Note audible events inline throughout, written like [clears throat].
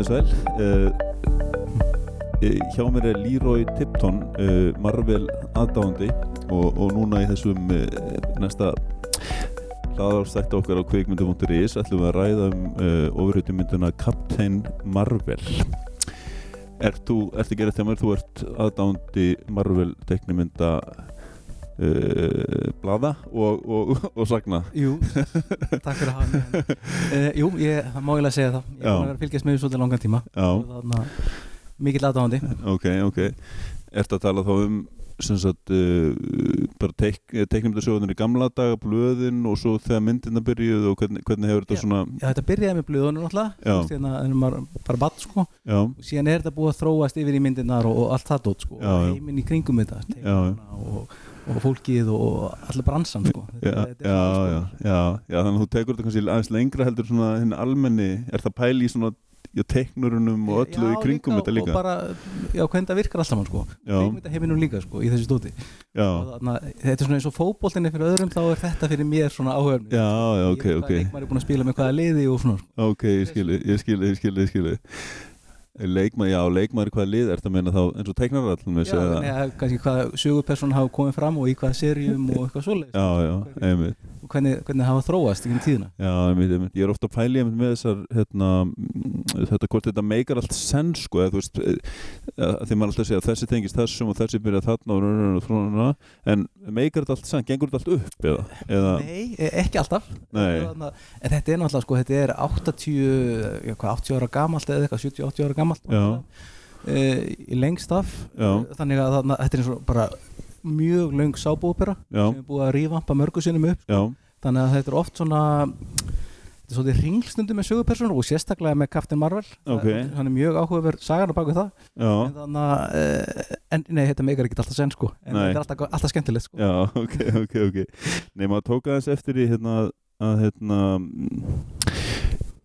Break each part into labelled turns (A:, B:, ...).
A: sæl uh, eh, Hjá mér er Leroy Tipton uh, Marvel aðdáandi og, og núna í þessum uh, næsta hlaðarstætti okkar á kveikmyndu.is ætlum við að ræða um uh, ofurhautumynduna Captain Marvel Ert þú, ertu gerðið þegar mér, þú ert aðdáandi Marvel teknimynda uh, blada og, og, og sagna
B: Jú, takk fyrir að hafa mig hérna. uh, Jú, ég það má ég að segja það Ég
A: Já.
B: er búin að vera að fylgjast með því svolítið langan tíma
A: Já,
B: Og þarna, Mikill aðdáðandi
A: ok, ok Ertu að tala þá um sem sagt uh, bara teik, teiknumdasjóðunir í gamla daga blöðin og svo þegar myndina byrjuð og hvernig, hvernig hefur þetta
B: Já.
A: svona
B: Já, þetta byrjaði með blöðunum náttúrulega
A: Já.
B: Þú veist, hérna, en maður bara batt sko
A: já,
B: og síðan er þetta búið að þróast yfir í myndirnar og, og allt það dót sko
A: Já,
B: og
A: já.
B: heiminn í kringum þetta
A: Já, já.
B: teiknarana og, og fólkið og, og allir bransan sko
A: já,
B: Þetta- þetta er
A: já,
B: svona,
A: já,
B: sko.
A: já, já þannig að þú tekur þetta kannski aðeins lengra heldur svona hinn almenni er það pæli í svona já, teiknurunum og öllu
B: Já,
A: í kringum
B: líka,
A: þetta líka
B: og bara, já, hvernig það virkar alltaf mann sko
A: Já.
B: heiminum líka sko, í þessu stóti
A: já,
B: og þarna, þetta er svona eins og fótboltinni fyrir öðrum þá er þetta fyrir mér svona áhörn
A: já, já, ok, ok
B: leikmar er búin að spila með hvaða liði og svona sko.
A: ok, ég skilji, ég skilji, ég skilji, ég skilji leikmaður, já, leikmaður hvaða lið er þetta að meina þá eins og teiknar allan
B: já, nei, að kannski hvaða söguperson hafa komið fram og í hvaða serjum og eitthvað svoleiðis
A: já, já, einmitt
B: og hvernig, hvernig hafa þróast í gegnum tíðina
A: Já, einmitt, einmitt. ég er ofta að pæli einmitt með þessar hérna, mm, þetta hvort þetta meikar allt senn sko, eða þú veist eh, að því maður alltaf segja að þessi tengist þessum og þessi byrja þarna og rönnur og svona en meikar þetta allt senn, gengur þetta allt upp eða, eða
B: Nei, e- ekki alltaf
A: Nei.
B: Þarna- En þetta er náttúrulega sko, þetta er 80, já, hvað, 80 ára gamalt eða eitthvað, 70-80 ára gamalt
A: Já.
B: Eh, Í lengst af
A: Já.
B: Eh, Þannig að þarna, þetta er eins og bara mjög löng sábúopera
A: Já.
B: sem er búið að rífampa mörgu sinnum upp
A: já,
B: Þannig að þetta er oft svona Þetta er svolítið ringstundum með sögupersonur og sérstaklega með Captain Marvel
A: Ok.
B: Það- Hann er mjög áhugaverð sagan á baku það
A: já,
B: En þannig að, eh, en nei, þetta meikar ekki alltaf senn sko En
A: Nei.
B: þetta er alltaf, alltaf skemmtilegt sko
A: já [laughs] ok, ok, ok Nei, maður tók aðeins eftir í hérna að hérna mm,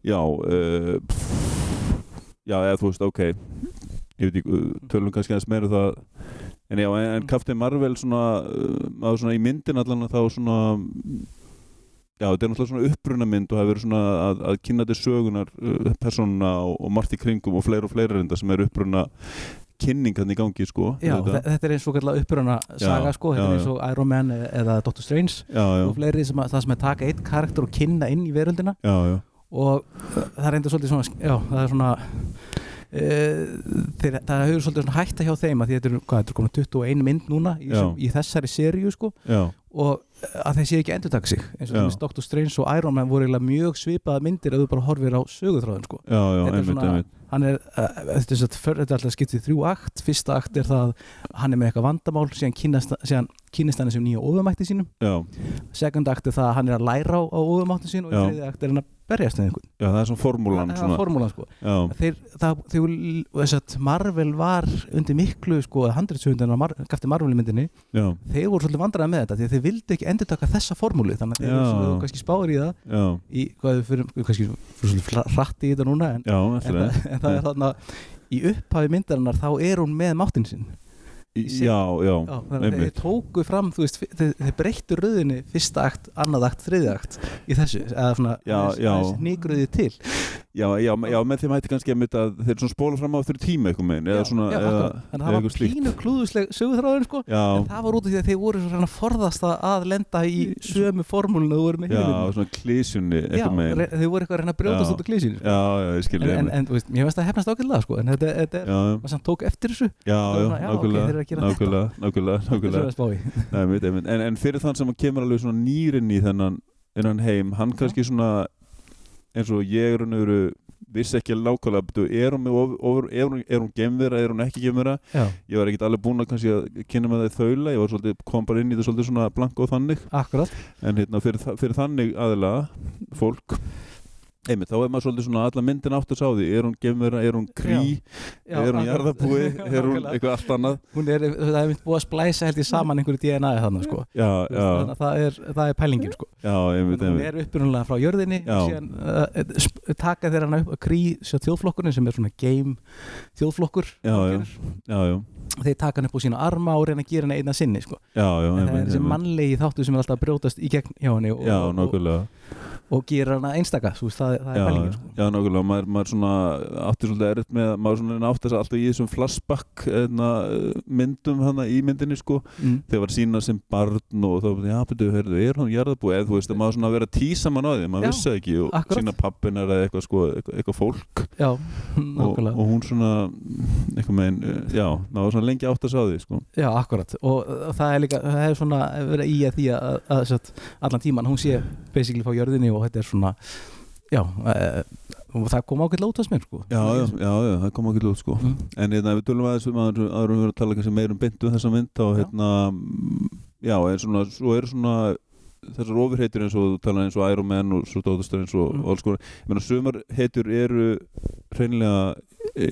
A: já uh, já, eða þú veist, ok ég veit ekki, uh, tölum kannski aðeins meira um það en já, en,
B: Mm.
A: en Captain Marvel svona, uh, maður svona í myndin allan að þá svona mm, já, þetta er náttúrulega svona uppruna mynd og það hefur verið svona að, að kynna til sögunar uh, personuna og, og margt í kringum og fleira og fleira reynda sem er uppruna kynning hann í gangi, sko
B: Já,
A: auðvitað.
B: þetta. þetta er eins og kallar uppröna
A: Já,
B: saga sko, þetta
A: já,
B: er eins og Iron Man e- eða Doctor Strange
A: já, já,
B: og fleiri sem að, það sem er taka eitt karakter og kynna inn í veröldina
A: já, já
B: og uh, það er enda svolítið svona, sk- já, það er svona uh, þeir, það hefur svolítið svona hætta hjá þeim að því þetta er, hvað, þetta er komin 21 mynd núna í,
A: Já.
B: þessum- í þessari seríu sko
A: Já,
B: og uh, að þeir séu ekki endur taka sig eins og
A: Já.
B: þess Doctor Strange og Iron Man voru eiginlega mjög svipaða myndir ef þú bara horfir á söguþráðin sko
A: já, já,
B: þetta er
A: einmitt,
B: svona,
A: einmitt
B: hann er, uh, þetta er satt, för, þetta er alltaf skiptið í þrjú akt, fyrsta akt er það að hann er með eitthvað vandamál, síðan kynast, síðan kynast hann þessum nýja ofumætti sínum
A: Já,
B: second akt er það að hann er að læra á, á ofumætti sín og í
A: Já.
B: þriði akt er hann að berjast með einhvern
A: já, það er svona formúlan
B: það
A: svona.
B: er formúlan sko
A: já,
B: þeir, það, þeir, þess að Marvel var undir miklu sko, handritsöfundan Mar gafti Marvel í myndinni
A: já,
B: þeir voru svolítið vandræði með þetta því að þeir vildu ekki endur taka þessa formúlu þannig að þeir eru
A: Já.
B: svona kannski spáir í það
A: já,
B: í, hvað við fyrir, kannski fyrir svolítið hratt í þetta núna en
A: já,
B: en,
A: eftir
B: það,
A: það
B: en það er þarna í upphafi myndarinnar þá er hún með máttin sinn
A: Í- Já, já,
B: Já, þannig að
A: einmitt
B: þeir tóku fram þú veist, þeir, þeir breyttu röðinni fyrsta akt, annað akt, þriði akt í þessu, eða svona
A: Já, já.
B: nýgruði til
A: Já, já, já, með þeim hætti kannski einmitt að þeir svona spóla fram á þurru tíma eitthvað meginn eða
B: Já,
A: svona,
B: já,
A: eða,
B: akkurat. þannig
A: eða
B: að það
A: eitthvað
B: var
A: slíkt
B: pínu klúðusleg sögurþráðin sko
A: Já,
B: en það var út af því að þeir voru svona að forðast að- að lenda í sömu formúlinu þú voru með
A: já,
B: hinum.
A: svona klísjunni
B: já
A: eitthvað meginn
B: re- þeir voru eitthvað að reyna að brjótast
A: Já.
B: út af klísinu sko.
A: Já, já, ég
B: en,
A: skilja
B: en, en þú veist, mér finnst það hefnast ákveðlega sko en þetta, þetta er,
A: Já,
B: maður samt tók eftir þessu
A: já,
B: það
A: já,
B: var svona, já, ok,
A: nákvæmlega
B: þeir eru að gera
A: Nákvæmlega, nákvæmlega,
B: þessu er
A: nákvæmlega
B: að
A: [laughs]
B: spá í
A: Nei, einmitt, einmitt. En, en fyrir þann sem kemur alveg svona nýrin í þennan, þennan heim, hann kannski svona eins og ég er hann eru vissi ekki nákvæmlega, betur, er hún, með of, of, er hún, er hún gemvera, er hún ekki gemvera
B: já,
A: ég var ekkert alveg búinn að kannski að kynna með það í þaula, ég var svolítið, kom bara inn í þetta svolítið svona blank og þannig,
B: akkurat
A: en hérna fyrir, þa- fyrir þannig aðila, fólk einmitt, þá er maður svolítið svona alla myndin átt að sá því, er hún gemvera, er hún krí
B: Já,
A: er hún
B: akkurat. [laughs]
A: jarðabúi, er hún
B: Nákvæmlega.
A: eitthvað allt annað
B: hún er, það er mynd búið að splæsa held ég saman einhverju DNA-ið þannig sko
A: já,
B: Þú
A: já,
B: veist, þannig að það er, það er pælingin sko
A: já, einmitt,
B: Þannig að hún
A: einmitt
B: er upprunalega frá jörðinni
A: Já.
B: síðan uh, sp- taka þeir hana upp að krí svo þjóðflokkurinn sem er svona game þjóðflokkur
A: já, já, já, já,
B: þeir taka hann upp á sína arma og reyna að gera hana einna sinni sko
A: já, já
B: en það
A: einmitt,
B: er þessi
A: einmitt.
B: mannlegi þáttu sem er alltaf að brjótast í gegn hjá henni og,
A: já,
B: og, og,
A: nákvæmlega
B: og gera hana einstaka þú veist, það, það er
A: já,
B: fælingin sko.
A: já, nákvæmlega, maður, maður svona átti svolítið erfitt með, maður svona átti þess alltaf í þessum flashback eðna, myndum hana í myndinni sko
B: mm.
A: þegar var sína sem barn og þá var já, betur, heyrðu, er hún jarðabúi eða þú veist, maður svona verið að tísa mann á því maður
B: Já,
A: vissi það ekki og
B: akkurat.
A: sína pappinar eða eitthvað sko, eitthvað, eitthvað fólk
B: já,
A: og,
B: nákvæmlega
A: og hún svona eitthvað megin, eh, já, maður var svona lengi átt að sá því sko,
B: Já, akkurat og uh, það er líka, það er svona eh, verið í að því að, að, að satt, allan tíman hún sé basically frá jörðinni og þetta er svona já, uh, og það kom ákveðlega út að smér sko.
A: já, já, já, já það kom ekki lút sko,
B: Mm.
A: en hérna, ef við tölum aðeins um aður, aður við verðum að tala kannski meir um byndu þessa mynd þá
B: Já.
A: hérna, mm, já, en svona, svo eru svona þessar ofurheitur eins og þú talar eins og Iron Man og svo Dóttastar eins og
B: Mm.
A: alls konar, ég meina sumar heitur eru hreinlega e,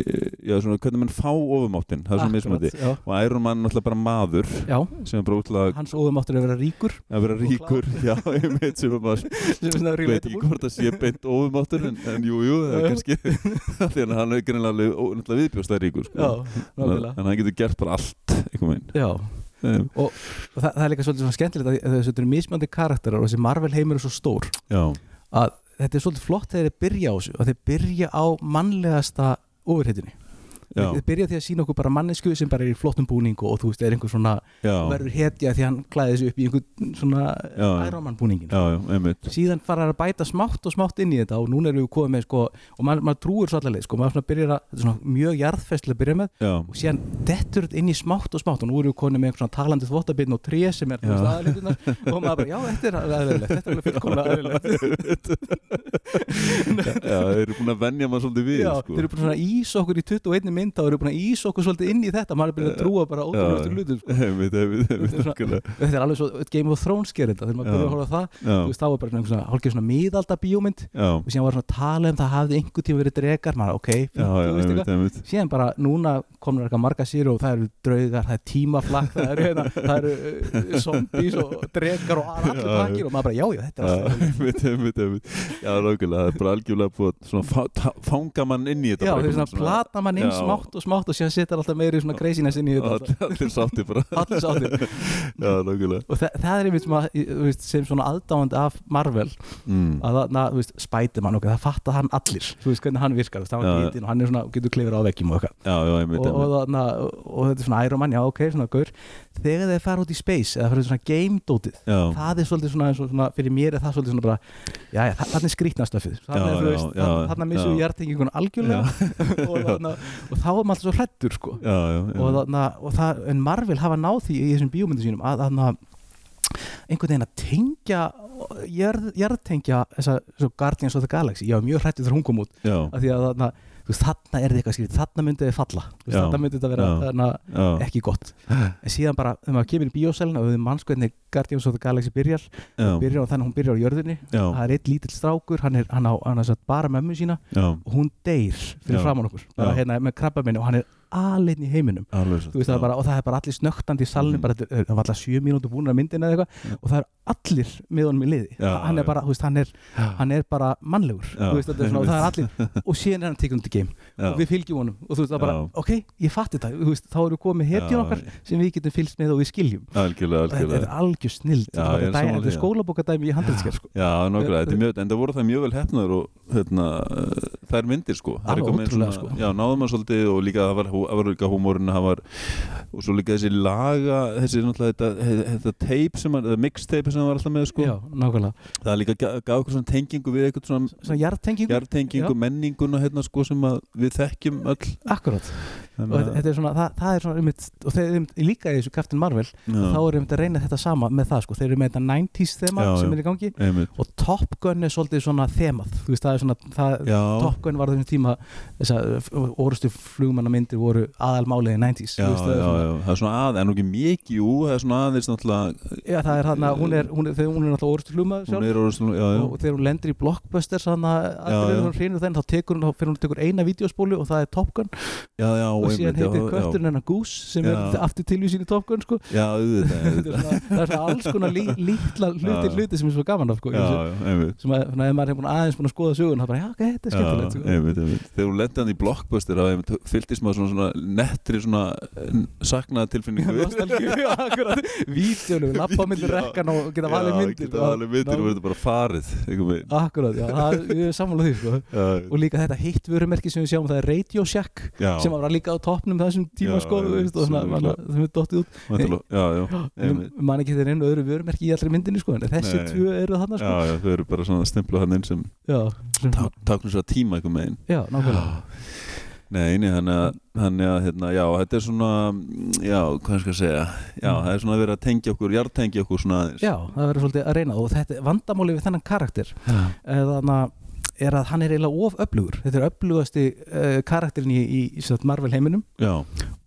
A: já, svona, hvernig menn fá ofumáttin það er svona
B: Akkurat,
A: mismandi
B: já,
A: og Iron Man er náttúrulega bara maður
B: já,
A: sem er bara útlaga
B: hans óðumáttur er að vera ríkur
A: að vera
B: og
A: ríkur já, ég veit sem að maður
B: sem er svona
A: [laughs] veit ekki
B: relatable.
A: hvort það sé beint ofumáttur en, en jú, jú, það er kannski [laughs] því að hann er greinilega alveg ó- náttúrulega viðbjóst að ríkur
B: Já,
A: sko. en,
B: nákvæmlega
A: en hann getur gert bara allt einhvern veginn
B: Já,
A: um,
B: og það, það er líka svolítið svona skemmtilegt að að þessu eru mismjöndi karakterar og þessi Marvel heimur er svo stór
A: já,
B: að þetta er svolítið flott þegar þeir byrja á þessu og þeir byrja á mannlegasta ofurheitinni.
A: já,
B: Þeir byrja á því að sína okkur bara mannesku sem bara er í flottum búningu og þú veist, er einhver svona
A: já
B: verður hetja því hann klæði þessu upp í einhvern svona
A: Já, já.
B: Ironman búningin
A: já, já, einmitt
B: síðan fara að bæta smátt og smátt inn í þetta og núna erum við komið með sko og maður, maður trúir svo allarleið sko, maður svona byrjar að þetta er svona mjög jarðfestlega að byrja með
A: já,
B: og síðan dettur þetta inn í smátt og smátt og nú erum við konið með einhvern svona talandi þvottabinn og tré sem er þú veist,
A: Já.
B: aðalhlutirnar og maður bara, já, þetta er aðlilegt þetta er alveg fullkomlega aðlilegt
A: já, þeir eru búin að venja maður svolítið við
B: Já,
A: sko.
B: þeir eru bara svona ís okkur í 21 mynd þá eru búin að ís okkur svolítið inn í þetta maður er byrjað að trúa bara ótrúlega hlutum sko.
A: einmitt, einmitt,
B: Þetta er
A: einmitt
B: svona-
A: nákvæmlega.
B: þetta er alveg svo Game of Thrones gerir þetta þegar maður
A: Já.
B: byrjar að horfa á það þú
A: já,
B: veist, þá var bara einhver svona hálfgeir svona miðalda bíómynd
A: já,
B: og síðan var svona að tala um það hafði einhver tíma verið dregar maður, ok,
A: já, já,
B: þú veist
A: einmitt,
B: eitthvað
A: einmitt
B: síðan bara núna komur eitthvað marga sér og það eru draugar, það er tímaflakk það eru,
A: [laughs]
B: hérna, það eru uh, zombies og dregar og allir
A: Já,
B: pakkir og maður bara, já, já, þetta
A: Já,
B: er allt
A: einmitt, einmitt, einmitt. Já, nákvæmlega, það er bara algjörlega búið að svona fá- ta- fanga mann inn í þetta
B: Já,
A: bara
B: þeir
A: einhvern
B: svona plata mann inn
A: Já.
B: smátt og smátt og síðan setjar alltaf meiri svona craziness inn í þetta alltaf.
A: allir, allir sátti bara
B: allir sáttir
A: Já, nákvæmlega
B: og það, það er einmitt sem, að, þú veist, sem svona aðdáðandi af Marvel
A: mm.
B: að það, na, þú veist, Spiderman okkur, það fattar hann allir þú veist hvernig hann virkar, þú veist, hann
A: Já,
B: var
A: já.
B: lítinn og hann er svona, getur klifur á veggjum og eitthvað
A: Já, já, einmitt,
B: og, og,
A: einmitt.
B: þarna, og þetta er svona Iron Man, já ok, svona gaur þegar þeir fara út í space, eða fara út í svona game-dótið
A: Já,
B: það er svolítið svona, eins og svona, fyrir mér er það svolítið svona bara, já, já, þa- þarna er skrýtnastöfið þarna,
A: Já,
B: er, þú
A: já,
B: veist,
A: já,
B: þarna- þarna missum við
A: já.
B: hjartingingun algjörlega [laughs] og, þarna, og þá er maður alltaf svo hrættur sko
A: já, já,
B: og,
A: já.
B: þarna, og það, en Marvel hafa náð því í þessum bíómyndu sínum að þarna einhvern veginn að tengja jörð, jörðtengja þessa svo Guardians of the Galaxy, ég var mjög hrættið þegar hún kom út
A: Já,
B: af því að þarna, þú veist, þarna er þið eitthvað skrið þarna myndi þið falla, þú veist,
A: Já,
B: þarna myndi þetta vera
A: já.
B: þarna,
A: já,
B: ekki gott en síðan bara, þegar maður kemur í bíósælina og við mannskvæðinni Guardians of the Galaxy byrjar
A: já,
B: byrjar á þannig að hún byrjar á jörðinni
A: já,
B: það er eitt lítill strákur, hann, er, hann á hann á satt, bara mömmu sína
A: já
B: og hún deyr fyrir
A: Já.
B: framann okkur bara,
A: Já.
B: hérna, með krabba og hann er alinn í heiminum
A: Alveg satt,
B: Þú veist,
A: já.
B: það er bara, og það er bara allir snögtandi í salnum
A: Mhm.
B: bara, þetta er- það var alltaf sjö mínútur búin að myndina
A: Já.
B: eða eitthvað og það er allir með honum í liði
A: Já,
B: hann er
A: já.
B: bara, þú veist, hann er, hann er bara mannlegur
A: Já.
B: Þú veist, þetta er svona, og það er allir og síðan er hann tekið undir game
A: Já,
B: og við fylgjum honum og þú veist, það er bara,
A: Já.
B: ok, ég fatti þetta þú veist, þá erum við komið
A: já,
B: hetjun okkar sem við getum fylgst með og við skiljum
A: Algjörlega,
B: þetta þetta
A: algjörlega
B: er algjör snild
A: Já, ég er sammála
B: þetta er
A: því, já.
B: skólabókadæmi í handelskerð sko.
A: Já, nákvæmlega, þetta er mjög, en það voru það mjög vel hefnar og hérna, uh, þær myndir sko Það er
B: Alveg
A: eitthvað með
B: ótrúlega,
A: svona-
B: sko.
A: Já, náðum maður svolítið og líka það var, hú- það var líka húmórin það var, og svo líka þessi laga þessi náttúrulega þetta, he- þetta tape sem var, eða mixtape sem hann var alltaf með sko
B: já, nákvæmlega,
A: það líka ga- gaf okkur svona tengingu við eitthvað svona
B: svona jartengingu
A: jartengingu, menninguna hérna sko sem að við þekkjum öll
B: akkurat, og
A: Þannig
B: þetta,
A: að-
B: þetta er svona það, það er svona, einmitt, og þeir einmitt- líka í þessu Captain Marvel þá
A: Já,
B: erum við að reyna þetta sama með það sko. þeir eru með þetta 90s þema
A: Já,
B: sem
A: já.
B: er í gangi
A: einmitt
B: og Top Gun er svolítið svona þemað þú veist það er svona það,
A: Já,
B: Top Gun var á þessum tíma þess að orustu flugmannamindir voru aðalmálið í 90s
A: já,
B: þú
A: já,
B: veist, það er svona-
A: já, það er svona aðeins, en nú ekki mikið, jú, það er svona aðeins náttúrulega,
B: Já, það er hann að hún er, hún er, þegar hún er náttúrulega orustu flugmaður
A: hún
B: sjálf
A: er orðið svona, já, já,
B: og þegar hún lendir í blockbusters hann að
A: já.
B: allir eru hún hrýnur þenn þá tekur hún, þá fyrir hún tekur eina vídeospólu og það er Top Gun
A: já, já,
B: og
A: einmitt,
B: síðan
A: já,
B: heitir
A: já.
B: kötturinn hennar Goose sem
A: Já.
B: er [laughs] aftur tilvísin í Top Gun sko.
A: Já,
B: [laughs]
A: auðvitað,
B: Þetta
A: auðvitað.
B: er svona, það er svona alls konar lí, lítla hluti,
A: [laughs] Já.
B: hluti sem er svo gaman af sko, í
A: Já,
B: þessu.
A: já, einmitt
B: sem að, svona, ef maður er búin aðeins búin að skoða sögun þá bara, já, ok, þetta er
A: Já,
B: skemmtilegt sko.
A: einmitt, einmitt. Þegar hún lendi hann í blockbuster þá einmitt fylltist maður svona, svona nettri svona eh, saknaða
B: [laughs]
A: tilfinningu [laughs]
B: Nostalgíu, [laughs] já, akkurat Vídeólu, lappa á myndi
A: Já.
B: rekkan og geta valið myndir sko.
A: geta valið myndir og verður bara farið einhvern veginn.
B: Akkurat, já, það er- ég er sammála því
A: [laughs]
B: sko.
A: Já,
B: og líka þetta hitt vörumerki sem við sjáum það er Radio Shack
A: já,
B: sem var líka á toppnum þessum tíma
A: Já,
B: sko,
A: já,
B: þú veist, og svona,
A: sem er
B: svona, sem er dottið út
A: væntanlega- já, já,
B: En
A: einmitt.
B: man ekki þeir einu öðru vörumerki í allri myndinni sko, en þessi
A: Nei.
B: tvö eru þarna
A: já,
B: sko.
A: já, þau eru bara svona stimpluð hann inn sem
B: já. Já,
A: taknum svo tíma einhvern veginn
B: já, nákvæmlega
A: Nei, nei, þannig að, þannig að hérna, já, þetta er svona, mm, já, hvað skal ég segja, já,
B: Mm.
A: það er svona að vera að tengja okkur, jartengja okkur svona aðeins.
B: Já, það verður svolítið að reyna það og þetta vandamáli við þennan karakter
A: Já,
B: eh, þannig að er að hann er eiginlega of öflugur þetta er öflugasti uh, karakterin í, í, í sem sagt, Marvel heiminum
A: já,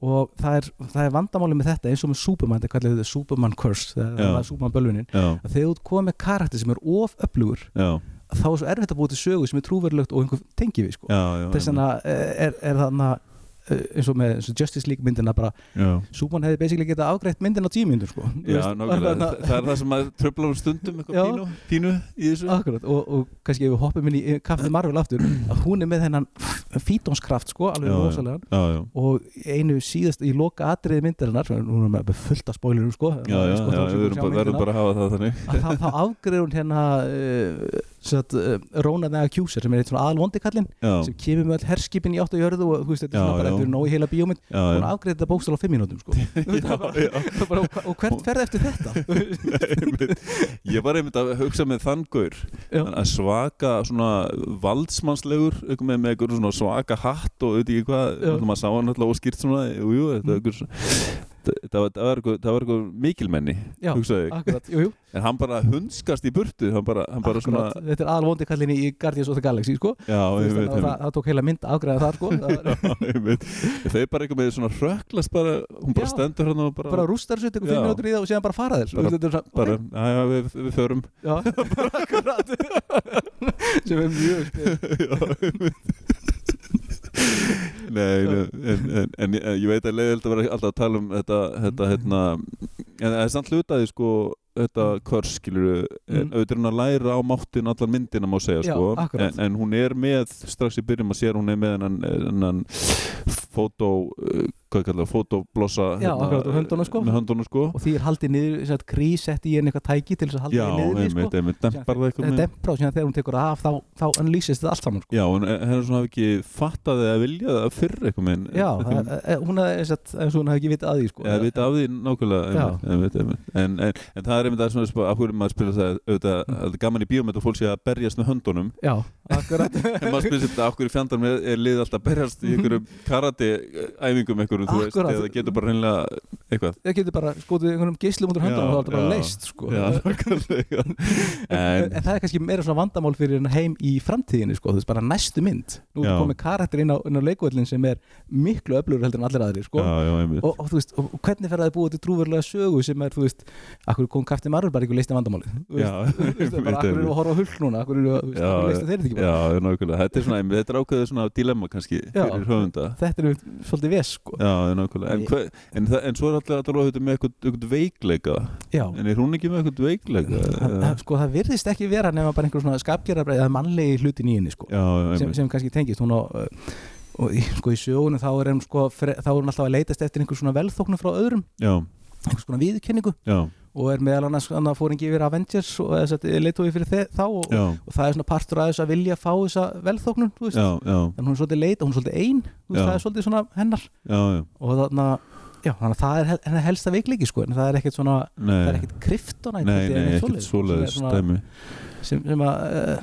B: og það er, það er vandamáli með þetta eins og með Superman, þetta kallar þetta Superman Curse það
A: Já.
B: það er Superman bölvunin
A: já,
B: að þegar þú komið með karakter sem er of öflugur
A: já,
B: þá er svo erfitt að búa til sögu sem er trúverulegt og einhver tengi við sko.
A: já, já,
B: þess vegna eh, er, er þannig að eins og með eins og Justice League myndina bara
A: já,
B: Superman hefði basically getað afgreitt myndina á tíu myndur sko. Þú
A: já,
B: veist,
A: nákvæmlega,
B: þannig að-
A: það, það er það sem maður tröflar um stundum,
B: Já.
A: eitthvað pínu, pínu í þessu.
B: Akkurat, og, og kannski ef við hoppum inn í
A: [clears throat]
B: kaffið Marvel aftur, að hún er með hennan fítonskraft sko, alveg
A: Já, já.
B: rosalegan
A: Já, já,
B: og einu síðast í loka atriði myndarinnar, sem hún er með fullt af spoilerum sko,
A: já, já,
B: sko,
A: já, við verðum bara, verðum bara að hafa það þannig.
B: þá, þá
A: [laughs]
B: afgreður hún hérna uh, satt, uh, Rónan eða Kjúsar sem er eitt svona aðalvondi kallinn
A: Já,
B: sem kemur með all herskipin í átt og jörðu og þú veist, þetta er
A: Já,
B: svona bara
A: já.
B: eftir nóg í heila bíómynd
A: já,
B: hún
A: já.
B: afgreður þetta bókstala á fimm mínútum sko.
A: [laughs]
B: [laughs]
A: Já, já.
B: Það bara, og, og hvert ferði eftir
A: [laughs]
B: þetta?
A: Einmitt. ég var einmitt að hugsa með þann gaur
B: Já.
A: að svaka svona valdsmannslegur einhver með, með einhver svona svaka hatt og veit ekki hvað,
B: Já. Mm.
A: þannig að maður sá hann alltaf óskýrt svona, jú, jú, þetta var einhver það- það var- það var einhver- það var einhver mikilmenni
B: Já,
A: hugsaði ég,
B: akkurat, jú, jú
A: en hann bara hundskast í burtu hann bara, hann bara svona
B: Akkurat, þetta er aðalvondi kallin í Guardians of the Galaxy sko.
A: já,
B: Þú veist,
A: einmitt,
B: þannig að það,
A: einmitt
B: það tók heila mynd afgræða það sko. það
A: Já, einmitt. þau bara einhver með svona röklast bara, hún bara
B: Já.
A: stendur hann og bara,
B: bara rústar sér eitthvað
A: Já.
B: fimm minútur í það og síðan bara fara þér
A: Bara-
B: Þetta er svona-
A: bara, já, já, við, við förum
B: Já,
A: [laughs]
B: bara akkurat sem er mjög spil
A: Já, einmitt. Nei, nei, en, en, en, en ég veit að leiðild að vera alltaf að tala um þetta, þetta hérna, en það er samt hlutaði sko, þetta körs, skilur en
B: Mm.
A: auðvitað er hún að læra á máttin allan myndina má segja,
B: Já,
A: sko,
B: akkurat.
A: en, en hún er með, strax í byrjum að sér, hún er með hennan, hennan fótó, uh, hvað kallar það, fótóblossa, hérna,
B: Já, akkurat, og höndunum, sko.
A: með höndunum, sko,
B: og því er haldið niður, sem sagt, krý setti í henni eitthvað tæki til þess að halda
A: já,
B: henni niður
A: einmitt,
B: sko.
A: einmitt, dempar það
B: þetta
A: eitthvað
B: er
A: með
B: dempra og síðan þegar hún tekur það af þá, þá unleasist þetta allt saman sko.
A: Já, en hennar svona hafi ekki fattað eða viljað það fyrr eitthvað minn
B: Já, það, eh, hún hafði sem sagt, eins og hún hafði ekki vitað að því sko.
A: Já, við af því nákvæmlega einmitt, einmitt, einmitt. En, en, en það er einmitt það sem er spá- af hverju maður spila það auðvitað,
B: Mm.
A: að það er gaman í bíómynd og fólk sé að berjast með höndunum
B: Já, akkurat
A: [laughs] en maður spila þetta af hverju fjandarn er, er lið alltaf að berjast í
B: Mm-hmm.
A: einhverjum karate eh, æfingum einhverjum, þú veist,
B: Akkúrat.
A: eða það getur bara reynilega eitthvað
B: það getur bara skotið einhvernum geislum út úr höndunum
A: Já,
B: og þá er þetta bara
A: já.
B: leist sko.
A: Já, [laughs] nákvæmlega
B: en,
A: En,
B: það er kannski meira svona vandamál fyrir hennar heim í framtíðinni sko, þú veist bara næstu mynd nú
A: Já.
B: er komið karakter inn á, inn á leikvöldin sem er miklu öflugur heldur en allir aðrir sko.
A: já, já, einmitt
B: og, og þú veist, og og hvernig fer það að búa til trúverulega sögu sem er, þú veist, akkur kom kaftin margur bara ekki að leysa vandamálið þú
A: Já,
B: veist, [laughs]
A: [laughs]
B: þú veist, það er bara akkur eru að horfa á hull núna akkur eru að, þú veist,
A: Já,
B: akkur leysa þeir þetta ekki bara
A: já, nákvæmlega Þetta er svona, einmitt, þetta er ákveðið svona dilemma kannski
B: Já.
A: fyrir höfunda
B: þetta er einmitt svolítið ves sko.
A: Já, nákvæmlega En,
B: Ég-
A: hver, en, það, en svo er alltaf að þetta með eitthvað, eitthvað veikleika
B: já,
A: En er hún ekki með eitthvað veikleika?
B: það, það- sko, það virðist ekki vera nema bara einhver svona skapgerðarbreið eða mannlegi hlutin í henni sko.
A: Já, já,
B: sem,
A: einmitt
B: sem kannski tengist hún á uh, og í, sko í sögunum þá er hún sko, fre- þá er hún alltaf að leitast eftir einhvers svona velþóknum frá öðrum
A: Já,
B: einhvers konar viðurkenningu
A: já,
B: og er meðal annars hann að fóringi yfir Avengers og leittói fyrir þe- þá og,
A: já,
B: og það er svona partur að þess að vilja fá þessa velþóknun þú veist,
A: já, já,
B: en hún er svolítið leit og hún er svolítið ein þú veist,
A: Já.
B: það er svolítið svona hennar
A: já, já
B: og þannig að Já, þannig að það er hel- hennar helsta veikleiki sko, en það er ekkert svona,
A: Nei,
B: það er ekkert kryptonætt
A: nei, nei, ekkert svoleiðis
B: sem, er
A: dæmi
B: svona- sem, sem að, uh,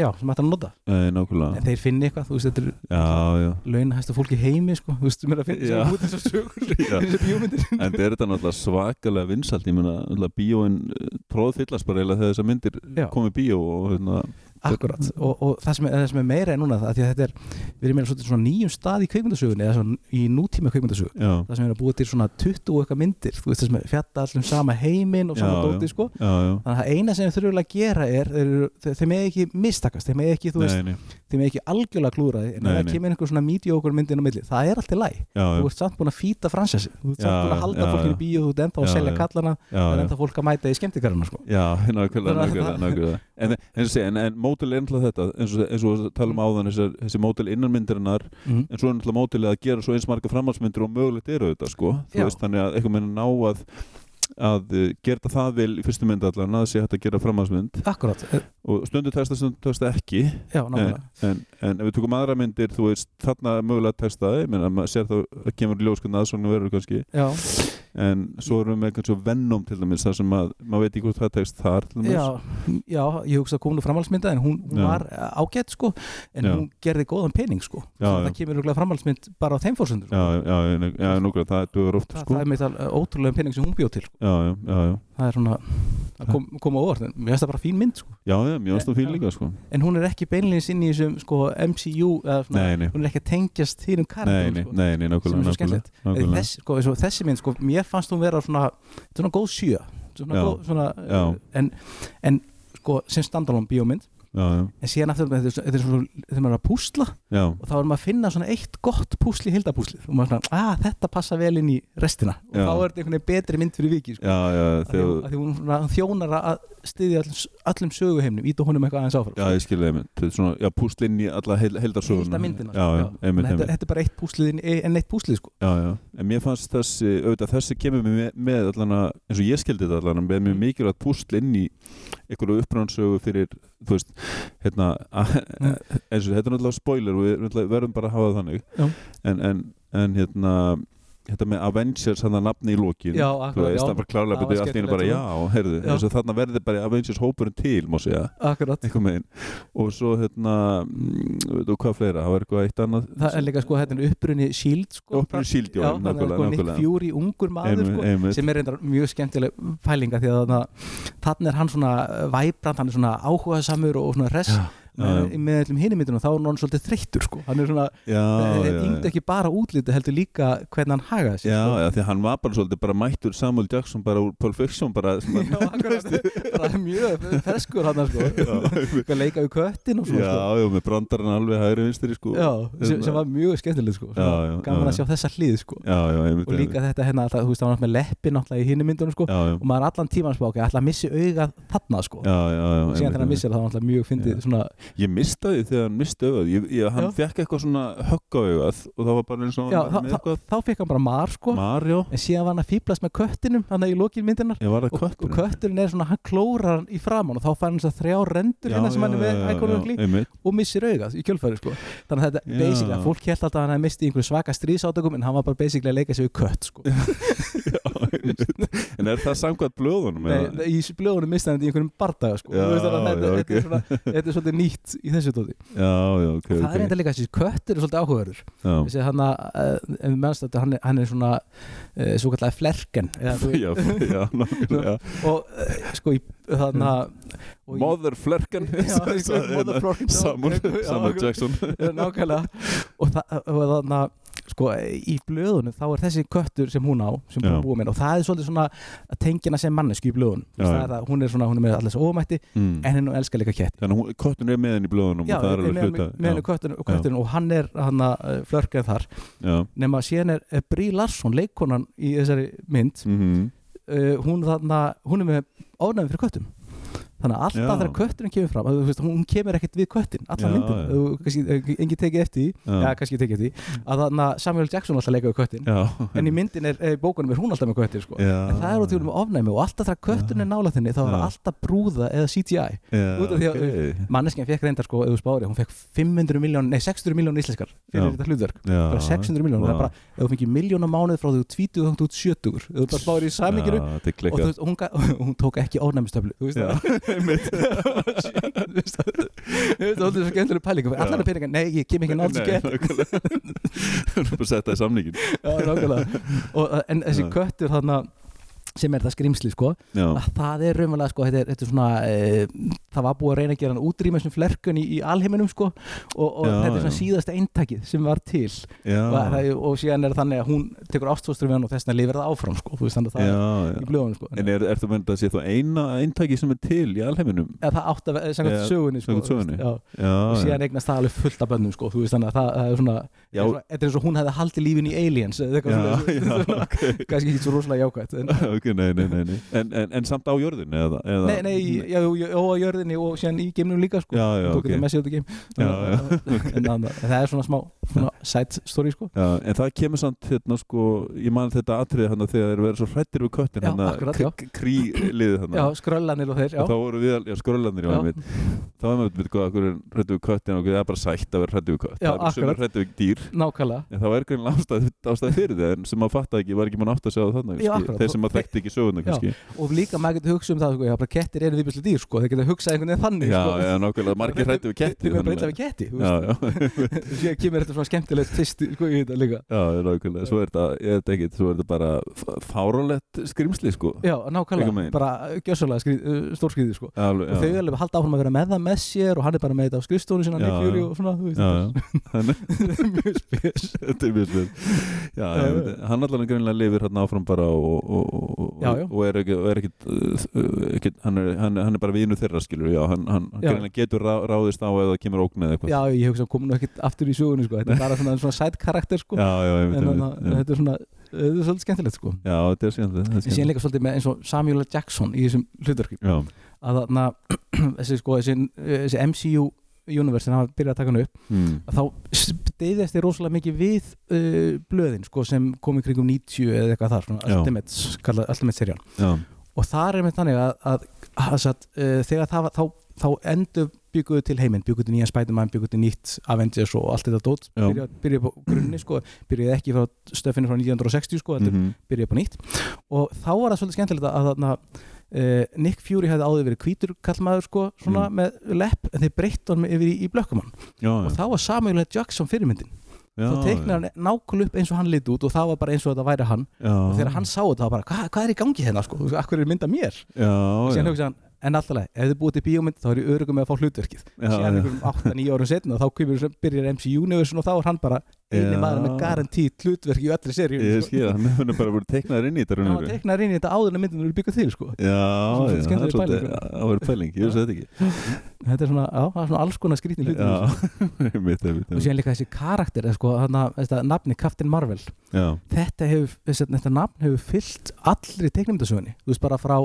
B: já, sem hægt er að nota
A: Nei,
B: en
A: nákvæmlega
B: þeir finni eitthvað, þú veist, þetta er
A: Já, já
B: launahæsta fólk í heimi sko. þú veist, mér að finna
A: Já.
B: sem út þessar sögur
A: [laughs] Já.
B: þessar bíómyndir
A: En þetta er þetta náttúrulega svakalega eh, vinsalt Ég meina, náttúrulega bíóin tróðfyllast bara eiginlega þegar þessar myndir
B: Já.
A: komi bíó og hérna
B: Akkurat, og, og það, sem er, það sem er meira en núna það, því að þetta er, við erum meira svolítið svona nýjum stað í kveikmyndasögunni, eða svona í nútíma kveikmyndasögu
A: já,
B: það sem er að búa til svona 20 og eitthvað myndir þú veist það sem er fjalla allir um sama heiminn og
A: Já,
B: sama dóti sko,
A: já, já
B: þannig að það eina sem þau þurfum að gera er, þeir, eru- þe- þeir með ekki mistakast, þeir með ekki, þú veist,
A: nei, nei,
B: þeir með ekki algjörlega klúra því, en
A: Nei,
B: ef
A: nei.
B: það kemur einhver svona mediocre myndin á milli, það er allt í læ
A: já, já,
B: þú ert samt búin að fýta fransessi, þú ert
A: Já,
B: samt búin að
A: já,
B: halda
A: já.
B: fólkinu í bíó, þú ert ennþá að
A: Já,
B: selja
A: já.
B: kallana,
A: já,
B: það er
A: já.
B: ennþá fólk að mæta í skemmtikarana sko.
A: Já, nákvæmlega,
B: Þannig að
A: nákvæmlega,
B: það-
A: nákvæmlega. En, en, en, en mótil er náttúrulega þetta eins og, eins og talum áðan þessar, þessi mótil innanmyndirinnar
B: mm.
A: en svo er náttúrulega mótilið að gera svo eins marga framhaldsmyndir og mögulegt eru þetta sko
B: Já.
A: þú veist þannig að eitthvað meina ná að að eh, gera þetta það vel í fyrstu mynd allan að það sé hægt að gera framhaldsmynd
B: Akkurat, eh,
A: og stundu testa, stundu testa ekki
B: já, nákvæmlega
A: en, en ef við tökum aðra myndir þú veist þarna er mögulega testaði menn að maður sér þá að kemur ljóskunna aðsvona verður kannski
B: Já,
A: en svo erum við með kannski Venom til dæmis þar sem að maður veit ekki hvort það tekst þar til dæmis
B: já, já, ég hugsa að konu framhaldsmynda en hún, hún
A: Já.
B: var ágætt sko en
A: Já.
B: hún gerði góðan pening sko
A: Já,
B: það
A: já.
B: kemur örugglega framhaldsmynd bara á þeim fórsundur
A: já, já, já, já, já núkvæmlega það duður oft
B: það,
A: sko
B: það er með það ótrúlega pening sem hún bjóð til sko.
A: já, já, já, já,
B: það er svona það kom, kom á óvart, en mér finnst það bara fín mynd sko.
A: já, já, mjög ástofn fyrir
B: Já.
A: líka sko
B: en hún er ekki beinleins inn í þessum sko, MCU eða svona,
A: nei, nei
B: hún er ekki að tengjast þínum
A: Nei,
B: karakterum
A: nei,
B: sko.
A: nei, nei,
B: sem
A: nákvæmlega,
B: er svo
A: nákvæmlega,
B: skemmtilegt En
A: nákvæmlega.
B: Þess, sko, eins og þessi mynd, sko, mér fannst hún vera svona, þetta er svona góð sjö svona
A: Já.
B: góð, svona,
A: Já.
B: eh, en, en sko, sem standalón bíómynd
A: Já, já,
B: en síðan aftur þetta er svo- þetta er svona þegar maður er að púsla
A: já,
B: og þá er maður að finna svona eitt gott púsli hildapúslið og maður er svona, að þetta passa vel inn í restina og
A: Já.
B: þá er þetta einhvern veginn betri mynd fyrir viki sko.
A: já, já,
B: Af því,
A: þegar
B: að því hún svona, hún þjónar að styðja allum, allum söguheimnum íta honum eitthvað aðeins áfram sko.
A: Já, ég skilði einmitt, þetta er svona, já, púsl inn í alla heil, heildarsöguna
B: Heilda myndina,
A: Já, já,
B: sko, já.
A: einmitt,
B: Þannig að þetta,
A: einmitt
B: þetta er bara eitt púslið inn- en eitt púslið sko.
A: Já, já, en mér fannst þessi, auðvitað þessi kemur mér með, með allan að, eins og ég skildi þetta allan að, með
B: Mm.
A: mjög mikilvægt púsl inn í einhverju upprannsögu fyrir, þú veist, hérna, a-
B: Mm.
A: eins og þetta er náttúrulega spoiler og við náttúrulega verðum bara að hafa það
B: Já.
A: þannig en, en, en, hérna, þetta með Avengers, hann að nafni í lokin
B: já,
A: Þú
B: akkurat,
A: veist, það
B: já,
A: var klárlega
B: Það
A: betið
B: var
A: allt í einu
B: skemmtilegt,
A: bara,
B: sko.
A: já, heyrðu,
B: Já.
A: eins og þarna verði bara Avengers hópurinn til, má segja,
B: akkurat
A: eitthvað megin og svo, hérna, mm, veit þú hvað fleira, það var eitthvað eitt annað
B: það er líka sko, þetta er upprunni síld sko,
A: Upprunni Shield, já,
B: já, þannig að
A: nákvæmlega,
B: sko, Nick
A: nákvæmlega.
B: Fury, ungur maður sko,
A: einmitt,
B: sem er reyndar mjög skemmtileg pælinga því að þarna- þarna er hann svona væbrand, hann er svona áhugaðsamur og svona res með,
A: já.
B: með allum hinum myndunum þá er hann svolítið þreyttur sko. hann er svona,
A: já,
B: þetta
A: já,
B: yngd
A: já.
B: ekki bara útliti heldur líka hvernig hann hagaði sér
A: Já,
B: sko.
A: já, því hann var bara svolítið bara mættur Samuel Jackson bara úr Pulp Fiction bara,
B: [laughs]
A: sem
B: [laughs] Já, akkurat, bara mjög ferskur hann sko.
A: [laughs] Já.
B: Að leika við köttin
A: já,
B: og svona sko.
A: já, með brandarinn alveg hægri vinstri, sko
B: já, sem, sem var mjög skemmtileg sko.
A: já, já,
B: gaman
A: já,
B: að sjá þessa hlið sko.
A: já, já, einmitt,
B: og líka
A: einmitt.
B: þetta hérna, alltaf, þú veist, hann var með leppin alltaf í hinum myndunum sko.
A: já, já,
B: og maður allan tíman spá, ok, alltaf missi augað þarna sko.
A: já, já, já
B: og
A: einmitt,
B: síðan þegar hann
A: einmitt.
B: missir það var alltaf mjög
A: Já.
B: fyndið svona,
A: Ég mistaði þegar hann misti auðað ég, ég, Hann
B: Já.
A: fekk eitthvað svona högg á auðað og það var bara eins og
B: já,
A: hann
B: þá,
A: var með
B: þá,
A: eitthvað
B: þá fekk hann bara mar sko,
A: Marjó,
B: en síðan var hann að fýblast með köttinum hann í lokin myndinar
A: ég var það
B: og, og
A: köttur
B: kötturinn er svona, hann klórar hann í framann og þá fær hann þess að þrjá rendur hérna sem hann er með ækonugli
A: einmitt, [laughs]
B: og missir augað í kjölfæri sko. þannig að þetta,
A: Já.
B: basically, að fólk held alltaf að hann hefði mistið í einhverju svaka stríðsátökum en hann var bara basically að leika sér við kött sko.
A: já, einmitt. En er það samkvæmt blöðunum? eða?
B: Nei, í blöðunum misti hann þetta í einhverjum bardaga sko.
A: Já,
B: Þú veist þannig að þetta,
A: já,
B: þetta, er svona, þetta er svolítið nýtt í þessu tóti
A: Já, já, ok,
B: það er
A: ok
B: enda líka þessi köttur er svolítið áhugaður
A: Já.
B: þessi hann að, ef við mennst þetta hann er, hann er svona, uh, svo kallega flerken eða, þú-
A: Já, [laughs] já, nákvæmlega
B: og eh, sko í þannig að [laughs] og í-
A: Mother Flerken
B: [laughs] Já, einhver Mother Florkin
A: Samuel,
B: Já,
A: Samuel
B: ok.
A: Jackson
B: [laughs] Já,
A: [laughs]
B: nákvæmlega og þa- og þannig að sko í blöðunum þá er þessi köttur sem hún á sem
A: Já.
B: búið búið með og það er svolítið svona að tengina sem mannesku í blöðunum
A: Já, já.
B: það er það, hún er svona, hún er með allir svo ómætti
A: Mm.
B: en henni elskar líka ketti
A: Þannig að hún- kottun er með henni í blöðunum og það er alveg hluta
B: með henni köttur og kötturinn og hann er hann að flörka þar
A: Já, já
B: nema síðan er eh, Brie Larson, leikkonan í þessari mynd
A: Mhm.
B: uh, hún, þarna, hún er með ofnæmi fyrir köttum þannig að alltaf
A: Já.
B: þegar kötturinn kemur fram að, þú veist, hún kemur ekkert við köttin
A: Já,
B: allan myndin,
A: já.
B: þú kannski, engin tekið eftir því
A: Já.
B: eða kannski tekið eftir því að þannig að Samuel Jackson alltaf leika við köttin
A: Já
B: en í myndin er, er í bókunum er hún alltaf með köttin sko.
A: Já.
B: en það er út í með ofnæmi og alltaf þegar kötturinn er nála þinni þá er
A: Já.
B: alltaf brúða eða CGI
A: Já,
B: út af því að-
A: ok.
B: manneskinn fekk reyndar sko, eða spári, hún fekk 500 miljón, nei 600 miljón íslenskar
A: Já.
B: fyrir þetta hlutverk
A: Já,
B: bara 600 miljón, það er
A: Vá.
B: bara, ef þú fengir miljón á mánuð frá því þú tvítuð þangtu út 70 ef þú bara spári í saminginu,
A: Já, þetta er
B: og þú
A: klikkað
B: veist, hún, ga- [laughs] hún tók ekki ónæmistöflu þú veist
A: Já, [laughs]
B: það [laughs] þú veist það þú veist það er svo skemmtileg pæling allar
A: Já.
B: er peningar, nei, ég kem ekki
A: Nei,
B: nátt sem gett
A: nákvæmlega. Þú erum bara að setja það í samningin
B: Já, nákvæmlega. Og, uh, en þessi
A: Já.
B: köttur þarna sem er það skrimsli sko
A: já,
B: að það er raunverulega sko þetta er, þetta er svona e, það var búið að reyna að gera hann útrýma þessum flerkun í, í alheiminum sko og, og
A: Já,
B: þetta er svona
A: já.
B: síðasta eintakið sem var til
A: já,
B: og, það- og síðan er þannig að hún tekur ástfóstrum við hann og þess vegna lifir það áfram sko þú veist þannig að það
A: já,
B: er í
A: já.
B: blöðunum sko
A: En er, ertu að mynda að sé þá eina eintæki sem er til í alheiminum?
B: eða það átt að
A: Já,
B: segja sögunni sko
A: samkvæmt
B: þú
A: sögunni.
B: veist, já, og
A: Já, já,
B: síðan eignast það alveg fullt af bönnum sko þú veist þannig að það, það er svona
A: já,
B: þetta er svona- þetta er eins og hún hefði haldið lífin í Aliens eða
A: já,
B: eitthvað
A: já,
B: svona, [laughs] svona
A: ok,
B: kannski ekki svo rosalega jákvæmt en,
A: ok, nei, nei, nei, nei. En, en, en samt á jörðin eða? eða
B: nei, nei, já, já, já, á jörðinni og síðan í geimnum líka sko
A: Já, já,
B: tók
A: ok.
B: þetta með sér út í geim
A: Já, já.
B: [laughs] en annað- en það er svona smá svona side story sko
A: Já, en það kemur samt hérna sko, ég man þetta atriði hann þegar þeir verða svo hrættir við köttin
B: Já, akkurat, já.
A: hann kríliðið hann
B: já, skröllanir og þeir já,
A: og þá voru við, al- já, skröllandir já,
B: Já.
A: einmitt. þá er maður veit hvað, okkur er hrættu við köttin og það er bara sætt að vera hrættu við kött
B: Já,
A: það er sem
B: akkurat.
A: er hrættu við dýr
B: nákvæmlega
A: en það var greinlega ástæð, ástæð fyrir það en sem maður fattaði ekki, var ekki mann átt að segja þannig
B: Já, akkurat.
A: þeir sem maður þekkti ekki söguna kannski já,
B: og líka maður getur hugsað um það sko já, bara kettir eru viðbjörnslega dýr sko þeir geta hugsað einhvern veginn þannig
A: já,
B: sko
A: nákvæmlega, margir hrættu við ketti
B: þeir verða breyta við ketti þú
A: já,
B: veist.
A: já,
B: [laughs] síðan kemur þetta svona skemmtilegt tvist sko í þetta líka
A: já, nákvæmlega svo er þetta, ég veit ekki, svo er þetta bara f- fáránlegt skrimsli sko
B: já,
A: Einhvern
B: nákvæmlega
A: veginn.
B: bara uh, gjössalega stórskriði sko
A: Alveg,
B: og þau
A: já.
B: alveg halda áfram að vera með það með sér og hann er bara með þetta á skrifstónu sinna
A: Já,
B: Nick Fury
A: já.
B: og svona, þú veist,
A: Já, já. Þannig-
B: þetta er mjög spes
A: Þetta er mjög spil Já,
B: Já,
A: ég veit, hann allan greinlega lifir hérna áfram bara og, og, og,
B: Já, já.
A: og er ekki, og er ekki, ekki hann, er, hann, er- hann er bara vinu þeirra skilur já, hann, hann, hann
B: Já.
A: greinlega getur rá, ráðist á eða kemur ógn eða eitthvað
B: [laughs] Já, ég hugsa að koma nú ekkert aftur í sögunni sko. þetta er bara svona, svona sæt karakter sko.
A: já, já, ég
B: en
A: veit, ég
B: þannig að
A: veit já.
B: þetta er svona þetta er svolítið skemmtilegt sko.
A: já, þetta er síðan
B: ég sé líka svolítið með eins og Samuel L. Jackson í þessum hlutverki
A: Já,
B: að þarna [clears throat] þessi, sko, þessi, þessi MCU universe sem hafa byrjað að taka hann upp
A: mm.
B: að þá deyðast þið rosalega mikið við uh, blöðin sko, sem kom í kringum 90 eða eitthvað þar svona,
A: Já.
B: Ultimates, kallað Ultimate serial
A: já,
B: og þar er með þannig að, að, að, að uh, þegar það var þá, þá endur bygguðu til heiminn, bygguðu til nýjan Spiderman bygguðu til nýtt Avengers og allt þetta dót
A: Já.
B: byrjaði byrja på grunni sko, byrjaði ekki frá stöfinu frá 1960 sko, heldur
A: mhm,
B: byrjaði på nýtt og þá var það svolítið skemmtilegt að, að, að uh, Nick Fury hefði áður verið hvítur kallmaður sko, svona
A: Mm.
B: með lepp en þeir breyttu hann yfir í, í blökkumann
A: já,
B: og þá var Samuel L. Jackson fyrirmyndin
A: já,
B: þá teiknar hann nákvæmlega upp eins og hann liti út og það var bara eins og þetta væri hann
A: já,
B: og þegar hann sá þetta, þá bara, hvað, hvað er í gangi hérna sko, akkur er mynda mér
A: já,
B: og síðan
A: já,
B: hugsa hann, en alltaf leið, ef þið búið til bíómynd þá er ég örugum með að fá hlutverkið
A: Já, já.
B: síðan einhverjum 8-9 árum setna þá kemur, byrjar MC Universe og þá er hann bara eini
A: Já.
B: maður með garantíð hlutverk í sko. öllri seríu
A: ég skil, hann hann er bara voru teiknaður inn í þetta
B: hann var
A: raunveru.
B: teiknaður inn í þetta áður en myndinu eru byggað til sko.
A: Já, já,
B: Svona
A: það
B: skemmtileg
A: er svolítið
B: pæling.
A: áverð pæling, ég veist þetta ekki
B: þetta er svona, já, það er svona alls konar skrýtni hlutur
A: Já, [laughs] mitt, mitt,
B: og
A: mitt
B: síðan líka þessi karakter eða sko, hana, þetta nafni Captain Marvel
A: Já,
B: þetta, hefur, þessi, þetta nafn hefur fyllt allri teiknumyndasögunni þú veist bara frá,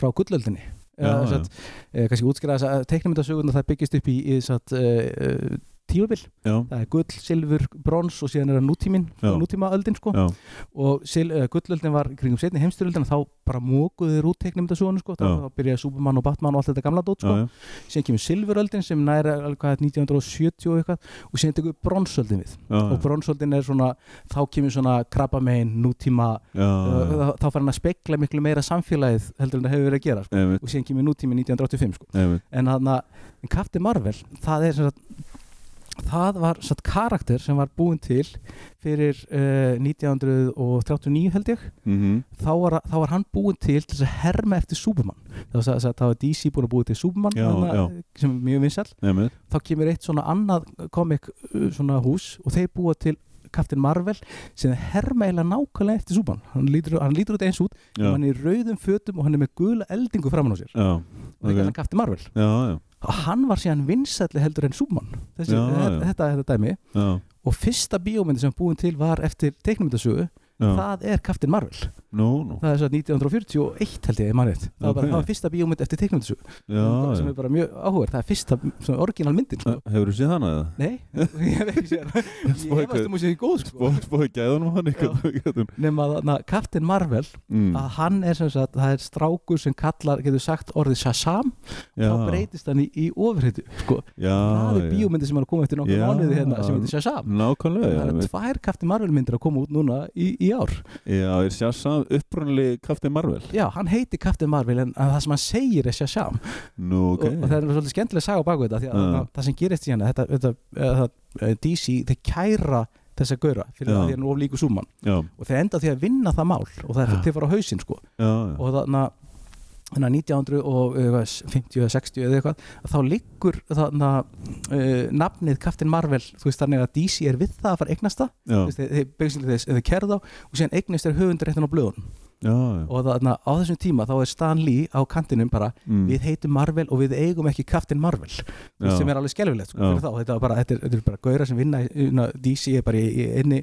B: frá gullöldinni
A: Já,
B: Eða,
A: já.
B: sem sagt, eh, kannski útskýra þess að teiknumyndasögunna það byggist upp í, í sem sagt, uh, tímabil
A: já,
B: það er gull, silfur, brons og síðan er það nútímin,
A: Já.
B: nútímaöldin sko.
A: já,
B: og sil, uh, gullöldin var í kringum setni heimstyröldin og þá bara mókuðu þeir út teiknumyndasögunum sko. þá,
A: Já.
B: þá byrjaði Superman og Batman og allt þetta gamla dót
A: já,
B: sko.
A: já.
B: síðan kemur silfuröldin sem eh, næra 1970 og eitthvað og síðan tekur bronsöldin við
A: Ah, já,
B: og bronsöldin er svona, þá kemur svona krabba nútíma
A: já, Ah, já.
B: uh, þá fær hann að spekla miklu meira samfélagið heldur en það hefur verið að gera sko.
A: Einmitt,
B: og síðan kemur nútími 1985 sko.
A: einmitt,
B: en þarna, en Captain Marvel það er sem sagt það var satt karakter sem var búin til fyrir uh, 1939 held ég
A: mhm,
B: þá var, þá var hann búin til til þess að herma eftir Superman þá, var sagt- þá var DC búin að búin til Superman
A: Já,
B: sem er mjög vinsæl
A: einmitt,
B: þá kemur eitt svona annað komik uh, svona hús og þeir búa til Captain Marvel sem er hermeila nákvæmlega eftir súpan hann lítur, hann lítur út eins út
A: já,
B: hann er í rauðum fötum og hann er með gula eldingu framan á sér
A: já,
B: og það
A: ok.
B: er hann Captain Marvel
A: já, já,
B: og hann var síðan vinsætli heldur en súpan Þessi,
A: Já,
B: þetta,
A: já.
B: Þetta, þetta dæmi
A: já,
B: og fyrsta bíómyndi sem búin til var eftir
A: já,
B: teiknumyndasögu, það er Captain Marvel
A: nú, nú,
B: það er svo 1941 held ég, ég manið það, var bara-
A: Ok.
B: það var fyrsta bíómynd eftir teiknumyndasögu
A: já,
B: sem
A: já.
B: er bara mjög áhugur, það er fyrsta sem er orginal myndin sko.
A: Hefur þú séð hana eða?
B: Nei, [laughs] ég hef ekki séð það Ég
A: Spói-
B: hefast um að sé því góð sko
A: Bóð, bóð gæðunum hann eitthvað
B: Nefn að na, Captain Marvel
A: mm.
B: að hann er sem sagt, það er strákur sem kallar getur sagt orðið Shazam
A: Já,
B: þá breytist hann í, í ofurheitu sko.
A: já,
B: það er
A: já.
B: bíómyndi sem er að koma eftir nokkra
A: Já.
B: mánuði hérna sem heitir Shazam
A: Nákvæmlega,
B: það eru
A: einmitt.
B: tvær Captain Marvel myndir að koma út núna í, í ár
A: já, er Shazam upprunalegi Captain Marvel
B: já, hann heitir Captain Marvel en en það sem hann segir er Shazam
A: Nú, ok, Ah.
B: og, og það er svolítið skemmtilega að saga á baku hérna, þetta því að
A: Já.
B: það, það sem gerist í hana þetta, þetta, eh, það, eh, DC, þeir kæra þessa gaura fyrir
A: Já.
B: að því hann er of líku súman
A: já,
B: og þeir enda á því að vinna það mál og það er
A: Já.
B: til að fara á hausinn sko
A: já, já.
B: og þarna þannig að 1950 eh, eða 60 eða eitthvað að þá liggur þarna uh, nafnið Captain Marvel þú veist þannig að DC er við það að fara að eignast það
A: já,
B: Þú veist, þeir, þeir, basically þeir, þeir kerða og síðan eignast þeir höfundur á blöðunum
A: já, já.
B: og þarna á þessum tíma þá er Stan Lee á kantinum bara
A: Mm.
B: við heitum Marvel og við eigum ekki Captain Marvel Þú veist,
A: Já.
B: sem er alveg skelfilegt sko,
A: Já.
B: fyrir þá, þetta er bara, þetta er, þetta er bara gauðra sem vinna í- innan DC er bara í, í einni,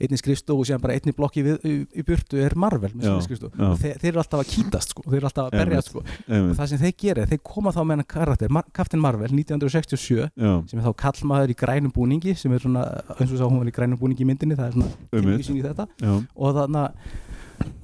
B: einni skrifstofu og síðan bara einni blokki við, í, í burtu er Marvel með
A: Já,
B: sinni skrifstofu
A: já.
B: Og þeir, þeir eru alltaf að kýtast sko, þeir eru alltaf að berja
A: Einmitt.
B: sko. og
A: Einmitt,
B: það sem þeir gera, er þeir koma þá með hennar karakter Mar Captain Marvel 1967
A: já,
B: sem er þá kallmaður í grænum búningi sem er svona, eins og sá hún var í grænum búningi í myndinni það er svona
A: Einmitt.
B: tilvísin í þetta
A: já,
B: og þannig að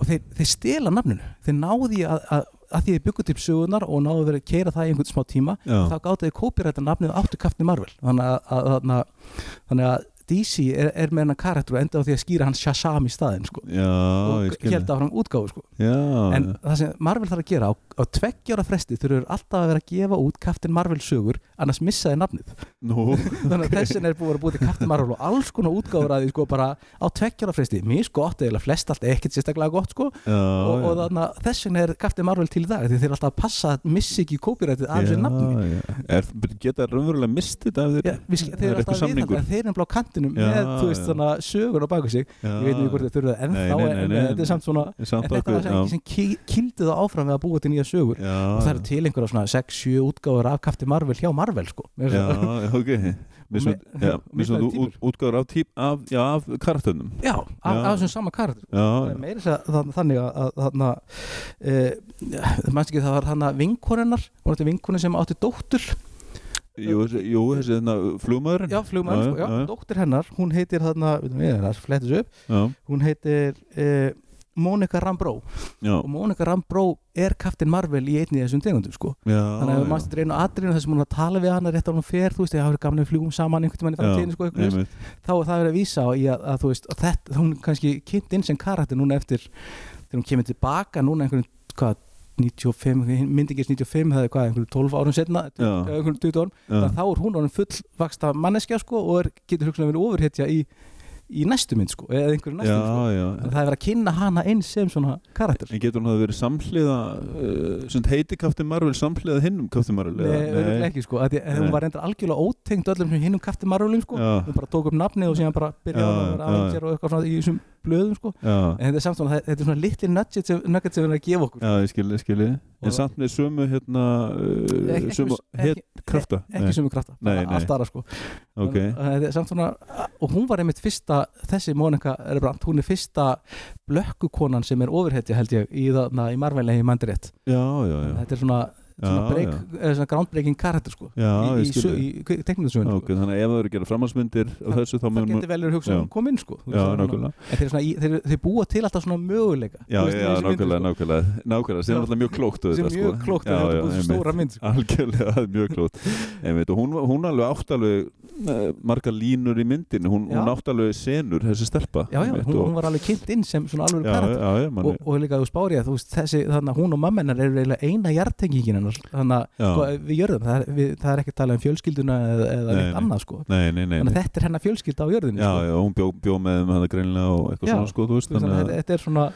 B: og þeir, þeir stela nafninu, þeir náði að, að, að því þeir byggu til sögunar og náðu verið að keira það í einhvern smá tíma
A: já,
B: þá gátu þið kópiræta nafnið og áttu Captain Marvel þannig að, að, að, þannig að DC er, er með hennar karakter og enda á því að skýra hann Shazam í staðin sko.
A: já, ég
B: og
A: skil
B: held áfram útgáfu sko.
A: já,
B: en það sem Marvel þarf að gera á, á tveggjára fresti þurfur alltaf að vera að gefa út Captain Marvel sögur annars missa þið
A: [laughs]
B: nafnið [laughs]
A: nú,
B: þannig að þessin er búið að búið til Captain Marvel og alls konar útgáfur að því sko bara á tveggjára fresti misgott eða flest allt ekkert sérstaklega gott sko
A: já,
B: og, og
A: já.
B: þannig að þess vegna er Captain Marvel til í dag því þeir eru alltaf að passa að missi ekki kópirætið af þessu nafni
A: Já, já. Er, geta raunverulega mistið það ef
B: Já, við, sk-
A: Það
B: þeir
A: er
B: eru alltaf
A: eitthvað
B: að viðhalda
A: samningur.
B: þeir eru bara á kantinum
A: Já,
B: með þú veist,
A: já.
B: svona, sögur á baku sig
A: Já.
B: ég veit ekki hvort þeir þurfa það ennþá
A: Nei, nei, nei,
B: en eh,
A: nei,
B: þetta
A: nei.
B: er samt svona
A: En samt
B: en þetta var
A: okkur,
B: sem ekki sem ki- kýldi það áfram við að búa til nýja sögur
A: já,
B: og það eru til einhverja svona 6-7 útgáfur af Captain Marvel hjá Marvel sko Mér
A: já,
B: finnst það-
A: já,
B: [laughs]
A: ok Mismund,
B: Og me-
A: já,
B: og
A: mismund
B: mismunandi
A: út, útgáður af, típ, af, já, af karakterunum
B: já, af
A: Já.
B: af þessum sama karakter
A: já,
B: Það er meira þess að það- þannig að- að þarna uh, mannst ekki það var þarna vinkonunnar og þetta vinkonin sem átti dóttur
A: jú, þessi- jú, þessi þarna flugmaðurinn
B: já, flugmann,
A: Já,
B: sko, já,
A: já, já.
B: dóttur hennar hún heitir þarna, veitum við, það er flettis upp
A: já,
B: hún heitir uh, Monica Rambró
A: já,
B: og Monica Rambró er Captain Marvel í einni af þessum tegundum sko
A: já,
B: þannig að
A: já.
B: við mannst reyna á atriðinu þar sem hún er að tala við hana rétt á hún fer, þú veist, ég hafa gamlega fljúum saman einhvern tímann í framtíðinu sko eitthvað
A: einmitt.
B: þess. þá er það verið að vísa á í að, að þú veist að þetta, hún er kannski kynnt inn sem karakter núna eftir þegar hún kemur tilbaka núna einhvern, hvað, 95 myndingis 95, það er hvað, einhvern 12 árum setna,
A: Já.
B: einhvern 20 árum
A: já,
B: þannig að þá er hún orðin fullvaksta manneskja sko og er, getur hugsanlega verið ofurhetja í, í næstu mynd sko, eða einhverju næstu mynd sko.
A: já, já
B: En það er verið að kynna hana inn sem svona karakter
A: En getur hún að verið samhliða uh, sem heiti Captain Marvel samhliða hinnum Captain Marvel?
B: Nei, auðvitað ekki sko að því, að hún
A: Nei.
B: var reyndar algjörlega ótengd öllum sem hinnum kafti marulum sko
A: Já,
B: hún bara tók upp nafnið og síðan bara byrjaði
A: Já,
B: hún að
A: já, já.
B: vera aðeins og eitthvað svona í þessum blöðum sko
A: já,
B: en þetta er samt svona, þetta er svona litli nugget sem, nugget sem við erum að gefa okkur
A: já, ég skilji, ég skilji En
B: Og-
A: samt með sömu hérna uh,
B: Ekki-
A: sömu
B: ekki-
A: hét krafta
B: ekki sömu krafta,
A: Nei,
B: bara
A: nei.
B: allt aðra sko
A: Ok,
B: Þannig að þetta er samt svona, og hún var einmitt fyrsta þessi Monika Rebrant, hún er fyrsta blökkukonan sem er ofurhetja held ég í, þarna í marvælegi mandrétt
A: já, já, já
B: þetta er svona, svona,
A: Já,
B: break,
A: já.
B: eh, svona groundbreaking karakter sko
A: Já,
B: í,
A: ég
B: í,
A: skilji
B: í, sko. í tekníkusögun
A: Ok, þannig að ef það eru að gera framhansmyndir og þessu þá
B: það
A: mun
B: getur vel verið hugsað
A: já.
B: um kom inn sko Þú
A: Já,
B: veist, það er
A: nákvæmlega
B: svona- en þeir, eru svona í, þeir, eru- þeir búa til alltaf svona möguleika
A: Já,
B: þú veist, í
A: já,
B: þessu myndum,
A: nákvæmlega,
B: sko.
A: nákvæmlega Nákvæmlega, sem er alltaf mjög sko. klókt
B: sem er mjög klókt að þetta búið svo stóra mynd sko.
A: Algjörlega, það er mjög klókt Einmitt, og hún, var- hún alveg átt alveg eh, margar línur í myndinu hún, hún
B: Já.
A: átt alveg senur, þessi stelpa
B: já, já,
A: einmitt,
B: hún,
A: og-
B: hún var alveg kynnt inn sem svona alveg
A: já,
B: karat
A: já, já, manni,
B: og, og líka þú spári að þú veist þessi, þannig að hún og mamma hennar eru eiginlega eina jartengingin hennar þannig að
A: já.
B: sko, við jörðum, það er, við, það er ekki að tala um fjölskylduna eða, eða
A: Nei,
B: neitt
A: nei.
B: annað sko
A: nei, nei, nei,
B: þannig að
A: nei.
B: þetta er hennar fjölskylda á jörðinu
A: Já,
B: sko.
A: já, hún bjó, bjó með þeim hana greinilega og eitthvað
B: Já,
A: svona sko, þú veist
B: Þú veist, þannig að
A: þannig
B: þetta,
A: að
B: þetta er svona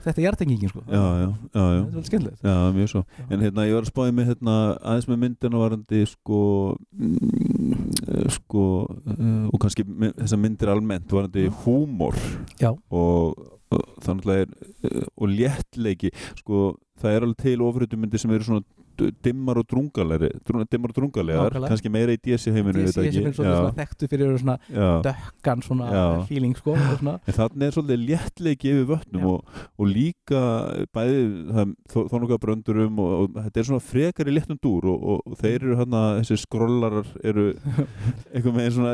B: þetta er jartengingin sko
A: Já, já, já,
B: þetta
A: já,
B: er vel skemmtilegt
A: já, mjög svo
B: Já.
A: En hérna, ég var að spáði mig hérna aðeins með myndina varandi sko mm, eh, sko eh, og kannski my- þessar myndir almennt varandi
B: Mm.
A: húmor
B: Já.
A: og, og þannig að er eh, og léttleiki, sko það er alveg til ofriðum myndir sem eru svona d- dimmar og drungalegri drung, dimmar og drungalegar,
B: Nákvæmlega.
A: kannski meira í DC heiminu
B: ég sem er svona svona þekktu fyrir að vera svona
A: já.
B: dökkan svona
A: Já.
B: feeling sko og svona
A: En þarna er svolítið léttleiki yfir vötnum
B: Já.
A: og, og líka bæði það- þó- þó nokkað bröndurum og, og þetta er svona frekari léttum dúr og, og, og þeir
B: Mm.
A: eru hérna, þessi skrollarar
B: [laughs]
A: eru einhver meginn svona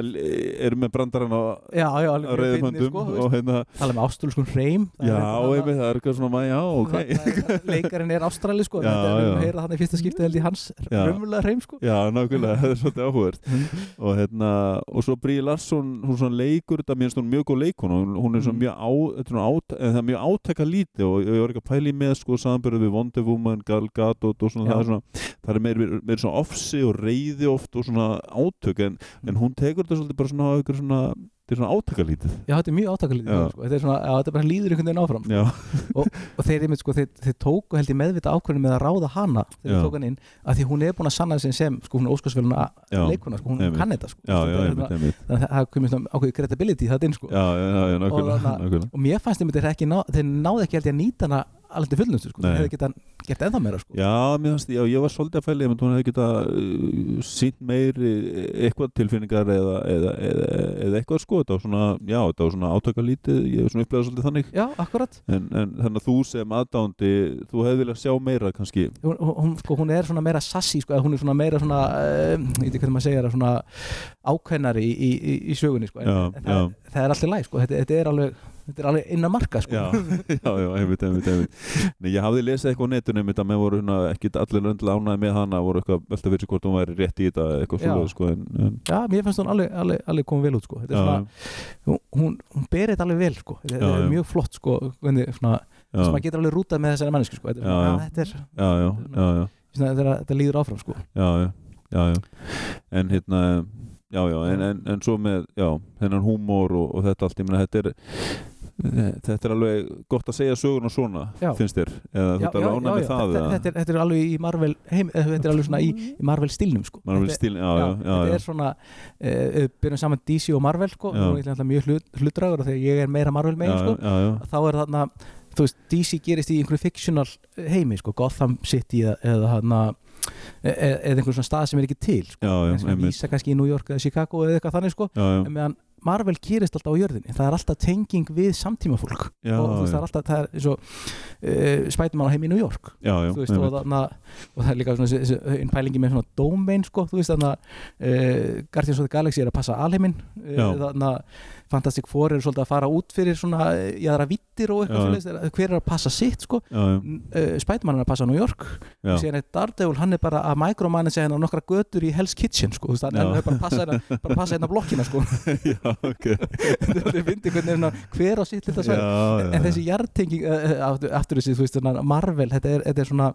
A: eru með brandarann á,
B: já, já,
A: á
B: alveg fyrir
A: reyðum
B: fyndnir,
A: höndum
B: sko, þú veist.
A: og hérna,
B: tala með ástralskum hreim Það er
A: já,
B: eitthvað annað-
A: einmitt, það er eitthvað svona, ma- já, ok
B: það
A: [laughs]
B: er- leikarinn er ástrali sko
A: Já,
B: þetta er
A: já.
B: að heyra þannig fyrsta skipti held í hans
A: Já.
B: raumulega hreim
A: [laughs]
B: sko
A: Já, nákvæmlega, það er svolítið áhugavert og, hérna, og svo Brí Larsson hún svona leikur þetta, mér finnst hún mjög góð leikun og hún er svona
B: Mm.
A: mjög, á, þetta er svona át, en það er mjög átækka lítið og ég var ekki að pæli með sko samanbyrðu við Wonder Woman, Gal Gadot og svona
B: Já.
A: það er svona, það er meir, meir
B: Mm.
A: svona ofsi og reyði oft og svona átök en, en hún tekur þetta svolítið bara svona á ykkur svona þetta er svona átakalítið
B: já, þetta er mjög átakalítið
A: Já.
B: sko. þetta er svona, já, þetta bara líður einhvern veginn áfram
A: já,
B: og þeir, einmitt, sko, þeir, þeir tóku held ég meðvita ákvörðinu með að ráða hana þegar
A: Já.
B: þeir tóku hann inn, að því hún er búin að sanna sem sem, sko, hún er óskarsveluna
A: já,
B: leikuna, sko, hún
A: einmitt.
B: kann þetta, sko
A: já, já,
B: Þetta er
A: einmitt,
B: hérna-
A: einmitt
B: þannig að það- það komið svona ákveðið credibility það inn, sko
A: já, já, já, já, nákvæmlega,
B: þarna-
A: nákvæmlega.
B: og mér fannst þeim þetta ekki, ná, þeir náði ekki held ég að nýta hana alveg til fullnustu, sko,
A: Nei.
B: þeir hefði geta gert ennþá meira, sko
A: Já, mér fannst, já, ég var svolítið að fæli ef hún hefði geta uh, sínt meiri eh, eitthvað tilfinningar eða, eða, eða, eða eitthvað sko þetta var svona, já, þetta var svona átakalítið ég hef svona upplegað svolítið þannig
B: já, akkurat,
A: en, en þannig að þú sem aðdándi þú hefði viljað sjá meira kannski
B: hún, hún, sko, hún er svona meira sassi, sko, eða hún er svona meira svona, eh, ég veit ekki hvernig maður segja það svona ákveðnari í, í, í, í sögunni, sko en,
A: Já,
B: en
A: já.
B: það, það er alltaf læg, sko, þetta, þetta er alveg þetta er alveg innan marka, sko
A: Já, [laughs] já, já, einmitt, einmitt, einmitt. Nei, ég hafði lesið eitthvað á netinu einmitt að menn voru hérna, ekki allir löndlega ánæði með hana voru eitthvað velta fyrir sig hvort hún væri rétt í þetta eða eitthvað
B: Já.
A: svolega sko en, en,
B: Já, mér fannst hún alveg, alveg, alveg komið vel út sko. Þetta er
A: já,
B: svona, hún, hún- hún ber þetta alveg vel sko. þetta
A: Já,
B: er
A: já.
B: mjög flott sko, hvernig, svona,
A: já,
B: sem maður getur alveg rútað með þessari mannesku sko. þetta, er
A: Já,
B: svona,
A: já.
B: að, þetta, er,
A: já, já, já, já.
B: svona, þetta, er, þetta líður áfram sko.
A: já, já, já, já. en hérna já, já, en, en, en svo með já, þennan húmór og, og þetta allt ég meina þetta er þetta er alveg gott að segja söguna svona
B: Já.
A: finnst þér, eða þú ert alveg ánægð með það
B: þetta, þetta, er, þetta er alveg í Marvel heim, eh, þetta er alveg svona í, í Marvel stílnum sko.
A: mann vil
B: Þetta-
A: stíl, já, já,
B: Já,
A: já,
B: þetta
A: já,
B: er svona uh, byrjum saman DC og Marvel sko,
A: Já.
B: nú er ég náttúrulega mjög hlut, hlutdragur og þegar ég er meira Marvel megin
A: já,
B: sko,
A: já, já,
B: þá er þarna þú veist, DC gerist í einhverju fictional heimi sko, Gotham City eða, eða, hana, eða, eða einhver svona stað sem er ekki til sko.
A: já, já,
B: En sem
A: einmitt.
B: vísa kannski í New York eða Chicago eða eitthvað þannig sko
A: já, já,
B: en meðan Marvel gerist alltaf á jörðinni það er alltaf tenging við samtímafólk
A: já,
B: og þú veist það er alltaf það er eins og uh, Spiderman á heim í New York
A: já, já,
B: þú veist, og,
A: einmitt.
B: þarna, og það er líka svona þessi- þessi einn pælingi með svona domain sko, þú veist þarna uh, Guardians of the Galaxy er að passa alheiminn
A: Já.
B: uh, þarna Fantastic Four eru svolítið að fara út fyrir svona eh, jaðra vittir
A: Já,
B: og eitthvað svolítið hver er að passa sitt sko
A: já, já,
B: uh, Spiderman er að passa á New York
A: já,
B: og síðan er Daredevil, hann er bara að micromanage hérna á nokkra götur í Hell's Kitchen sko, þú veist, hann
A: Já.
B: hann er bara að passa hérna, bara að passa hérna blokkina sko, [laughs]
A: já, ok
B: þetta er fyndið hvernig hérna, hver á sitt þetta svæði
A: já,
B: En þessi jartenging, aftur, aftur þessi, þú veist, þarna Marvel, þetta er, þetta er svona,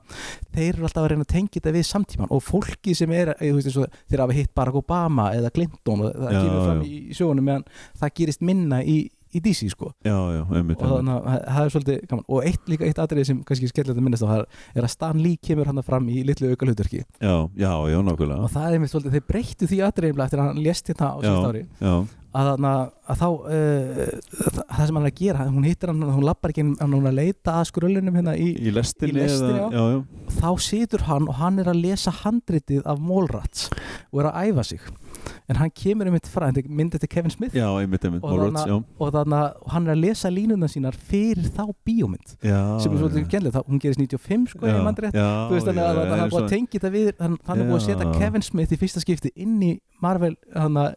B: þeir eru alltaf að reyna að tengja þetta við samtíman og fólki sem er, eh, þú veist, eins og þeir hafa hitt Barack Obama eða Clinton og það
A: Já,
B: kemur fram
A: já.
B: í, í sjónum meðan það gerist minna í, í DC, sko.
A: já, já, einmitt,
B: Og
A: einmitt.
B: þannig að það- það er svolítið gaman. Og eitt líka, eitt atriði sem kannski skellilegt að minnast á, það er að Stan Lee kemur hann fram í litlu auka
A: já, já, já, nákvæmlega
B: og það er einmitt svolítið, þeir breyttu því aðreiflega eftir að hann lést hérna á síðast ári
A: já,
B: að, að, að þá uh, það, það sem hann er að gera, hún hittir hann hún lappar ekki, inn, hann er að leita að skröllunum hérna í,
A: í lestinni,
B: lestinni,
A: eða-
B: já.
A: já, já,
B: þá situr hann og hann er að lesa handritið af Mólrats og er að æfa sig en hann kemur einmitt frá, þetta er myndið til Kevin Smith
A: já, einmitt, einmitt,
B: og,
A: Morrats, já
B: þarna, og þarna, og hann er að lesa línuna sínar fyrir þá bíómynd
A: já,
B: sem er svolítið
A: já.
B: gennileg, þá- hún gerist 95 sko, ég mandri
A: já,
B: þú veist þannig að
A: já,
B: það
A: já,
B: er búið að
A: svona-
B: tengja þetta við þannig að búið að
A: Já.
B: setja Kevin Smith í fyrsta skipti inn í Marvel hana,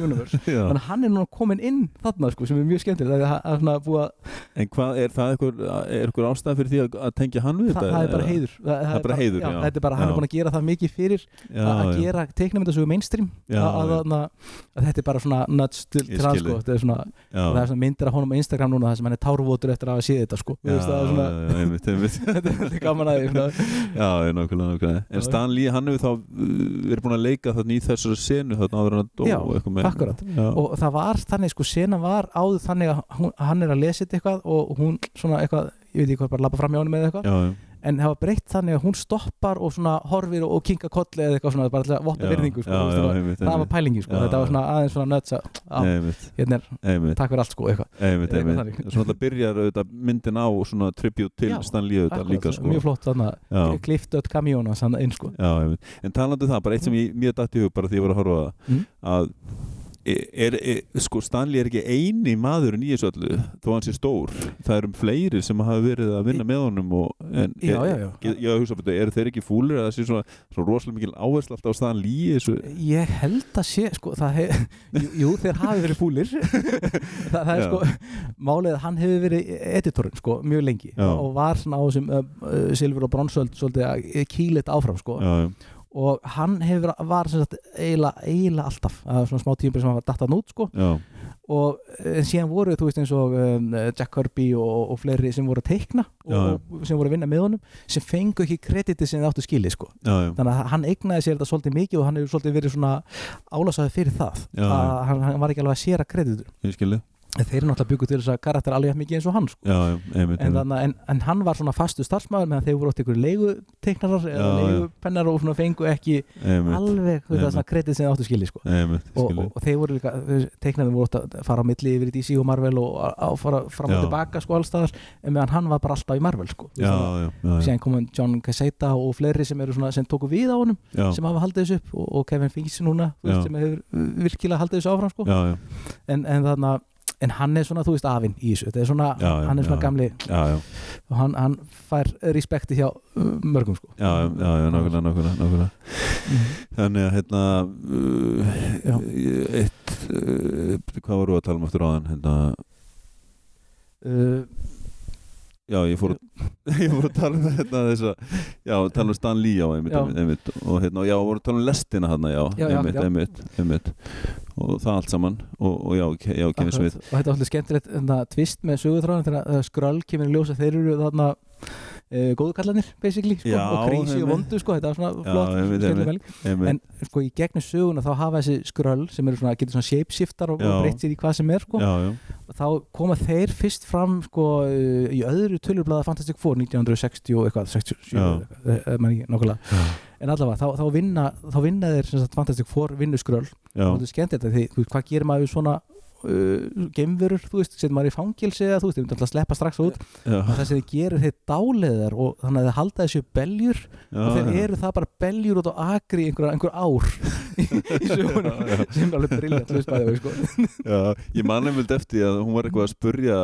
B: universe
A: Já.
B: þannig að hann er núna komin inn þarna sko, sem er mjög skemmtilegt það er að- að svona búa,
A: en hvað er það eitthvað, er eitthvað ástæð fyrir því að, að tengja hann við
B: það,
A: þetta
B: það er bara
A: eða?
B: heiður það, það
A: bara heiður, já.
B: þetta er bara, hann
A: Já.
B: er búin að gera það mikið fyrir
A: já,
B: að, að
A: já.
B: gera teiknumyndasögu mainstream
A: Já,
B: að, að,
A: já.
B: að, að þetta er bara svona nuts til,
A: Ég
B: til hans
A: skil
B: sko,
A: þig.
B: þetta er svona,
A: já.
B: það er svona myndir af honum á Instagram núna það sem hann er tárvotur eftir að hafa séð þetta sko, Þú
A: já,
B: veist, það er svona
A: já, já, einmitt, einmitt.
B: [laughs] þetta er gaman að því svona.
A: já, já, nákvæmlega, nákvæmlega
B: Já, já.
A: en Stan Lee, hann hefur þá uh, verið búin að leika þarna í þessari senu þarna áður en að dó
B: Já,
A: eitthvað með
B: akkurat.
A: já,
B: og það var þannig sko, sena var áður þannig að hún, hann er að lesa þetta eitthvað og hún svona eitthvað, ég veit ekki hvað, bara labba fram hjá honum eða eitthvað
A: já, já,
B: en það var breytt þannig að hún stoppar og svona horfir og, og kinka kolli eða eitthvað svona bara til að votta
A: já,
B: verðingu sko,
A: já,
B: þú veist,
A: já,
B: það var-
A: einmitt,
B: það var
A: einmitt,
B: pælingi sko,
A: Já,
B: þetta var
A: já.
B: svona aðeins svona nuts að á,
A: einmitt,
B: hérna er
A: einmitt
B: takk fyrir allt sko eitthvað
A: einmitt,
B: eitthvað
A: einmitt,
B: þannig.
A: svona alltaf byrjar auðvitað myndin á svona tribute til
B: Já,
A: Stan Lee auðvitað
B: Akkurat,
A: líka sko
B: mjög flott eh, þannig
A: Já.
B: að klifta öll kamjóna þannig inn sko
A: Já, einmitt. en talandi um það, bara eitt sem ég mjög dætti hug bara því ég var að horfa á það
B: Mm.
A: að e, er, er, sko Stanley er ekki eini maðurinn í þessu öllu þó hann sé stór, það eru fleiri sem hafa verið að vinna með honum og, en,
B: Já,
A: er,
B: já, já.
A: Ég, ég hugsa, betur, eru þeir ekki fúlir að það sé svona, svona rosalega mikil áhersla alltaf á Stanley í þessu
B: Ég held að sé, sko, það hef, jú, jú, þeir hafi verið
A: [laughs]
B: fúlir það, það er
A: Já.
B: sko, málið að hann hefur verið editorinn, sko, mjög lengi
A: Já.
B: og var svona á þessum uh, uh, Silfur og Bronsöld svolítið að kýla þetta áfram, sko
A: Já, já,
B: og hann hefur, var sem sagt eiginlega, eiginlega alltaf, það var svona smá tímpir sem hann var datt hann út, sko
A: já,
B: og eh, síðan voru þú veist eins og um, Jack Kirby og, og fleiri sem voru að teikna og,
A: Já, já.
B: og sem voru að vinna með honum sem fengu ekki krediti sem það áttu skilið sko
A: já, já,
B: þannig að hann eignaði sér þetta svolítið mikið og hann hefur svolítið verið svona álasaði fyrir það
A: Já, já.
B: að hann, hann var ekki alveg að séra kreditur
A: ég skilji
B: en þeir eru náttúrulega byggu til þess að karakter alveg jafn mikið eins og hann sko.
A: Já, já, einmitt,
B: en,
A: einmitt.
B: þannig, að- en, en hann var svona fastu starfsmæður meðan þeir voru átt ykkur leiguteiknarar eða
A: Já, já.
B: leigupennar og svona fengu ekki
A: einmitt,
B: alveg þú veist,
A: Einmitt.
B: það svona kredit sem það áttu skilið sko.
A: einmitt, ég
B: og, og,
A: skilji
B: og þeir voru líka þeir teiknaði voru átt að fara á milli yfir í DC og Marvel og að, að fara fram og
A: Já.
B: tilbaka sko allstaðar en meðan hann var bara alltaf í Marvel sko. Þú
A: Já,
B: veist,
A: já, já, já,
B: síðan komum John Casseta og fleiri sem, eru svona, sem tóku við á honum
A: já,
B: sem hafa haldið þessu upp og, og Kevin Feige núna þú veist,
A: Já.
B: sem hefur virkilega haldið þessu áfram sko.
A: já, já,
B: en, en þannig að En hann er svona, þú veist, afinn í þessu. Þetta er svona,
A: Já, já,
B: hann er svona
A: já.
B: gamli
A: já, já.
B: og hann, hann fær respekti hjá uh, mörgum, sko. Mhm.
A: Já, já, já, já, nákvæmlega, nákvæmlega, nákvæmlega. Þannig að hérna uh,
B: Já.
A: eitt uh, hvað voru að tala um eftir áðan hérna,
B: Uh,
A: já, ég fór, að- [laughs] ég fór að tala um hérna þessa, já, tala um Stan Lee já, einmitt,
B: Já.
A: einmitt, einmitt og hérna, já, voru að tala um lestina hérna, já,
B: Já, já,
A: einmitt,
B: já.
A: einmitt, einmitt og það allt saman og, og já, Ke- já, Kevin
B: akkurat.
A: Smith
B: og þetta er allir skemmtilegt þarna, tvist með sögutráðan þegar uh, skröll kemur í ljós að þeir eru þarna uh, góðkallanir, basically, sko,
A: Já,
B: og krísi
A: einmitt.
B: og vondu, sko, þetta er svona
A: Já,
B: flott,
A: einmitt,
B: skemmtileg
A: einmitt.
B: pæling.
A: einmitt,
B: En sko í gegnum söguna þá hafa þessi skröll sem eru svona, getur svona shapeshiftar og, og
A: Já.
B: breytt sér í hvað sem er sko.
A: já, já,
B: og þá koma þeir fyrst fram sko uh, í öðru tölurblaða Fantastic Four 1960 og eitthvað 67
A: Já.
B: eða eitthvað, eh, eh, man ekki nákvæmlega
A: já,
B: en allavega þá, þá, vinna, þá vinna þeir sem sagt, Fantastic Four vinnuskröll
A: já,
B: og þetta er skemmt þetta því þú veist, hvað gerir maður við svona uh, geimverur, þú veist, setur maður í fangilsi eða þú veist, þeir mynda alltaf að sleppa strax út og
A: já,
B: það sem þeir gerir þeir dáleðar og þannig að þeir halda þessu beljur og þeir eru það bara beljur út á akri í einhver, einhver ár [laughs] í, í sögunum
A: Já, já.
B: sem er alveg briljant þú veist bæði sko.
A: Já, ég man einmitt eftir því að hún var eitthvað að spurja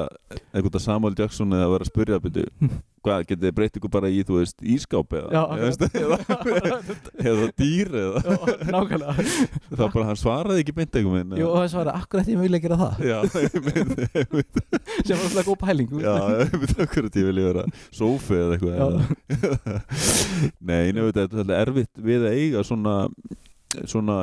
A: eitthvað að Samuel Jackson eða var að spurja byrju, hvað, getið þið breytt ykkur bara í, þú veist, ískáp eða
B: Já,
A: eða, veist, eða, eða dýr eða
B: Já, nákvæmlega
A: það var bara, hann svaraði ekki beint einhvern veginn
B: Jú, og það svara, akkur ætti ég mögulega að gera
A: [laughs]
B: það
A: Já, ég mynd, ég mynd,
B: sem var alltaf góð pæling
A: já, ég mynd okkur að ég vilja vera sófi eða
B: Já.
A: eitthvað eða. [laughs] Nei, nefnir þetta þetta er erfitt við að eiga svona svona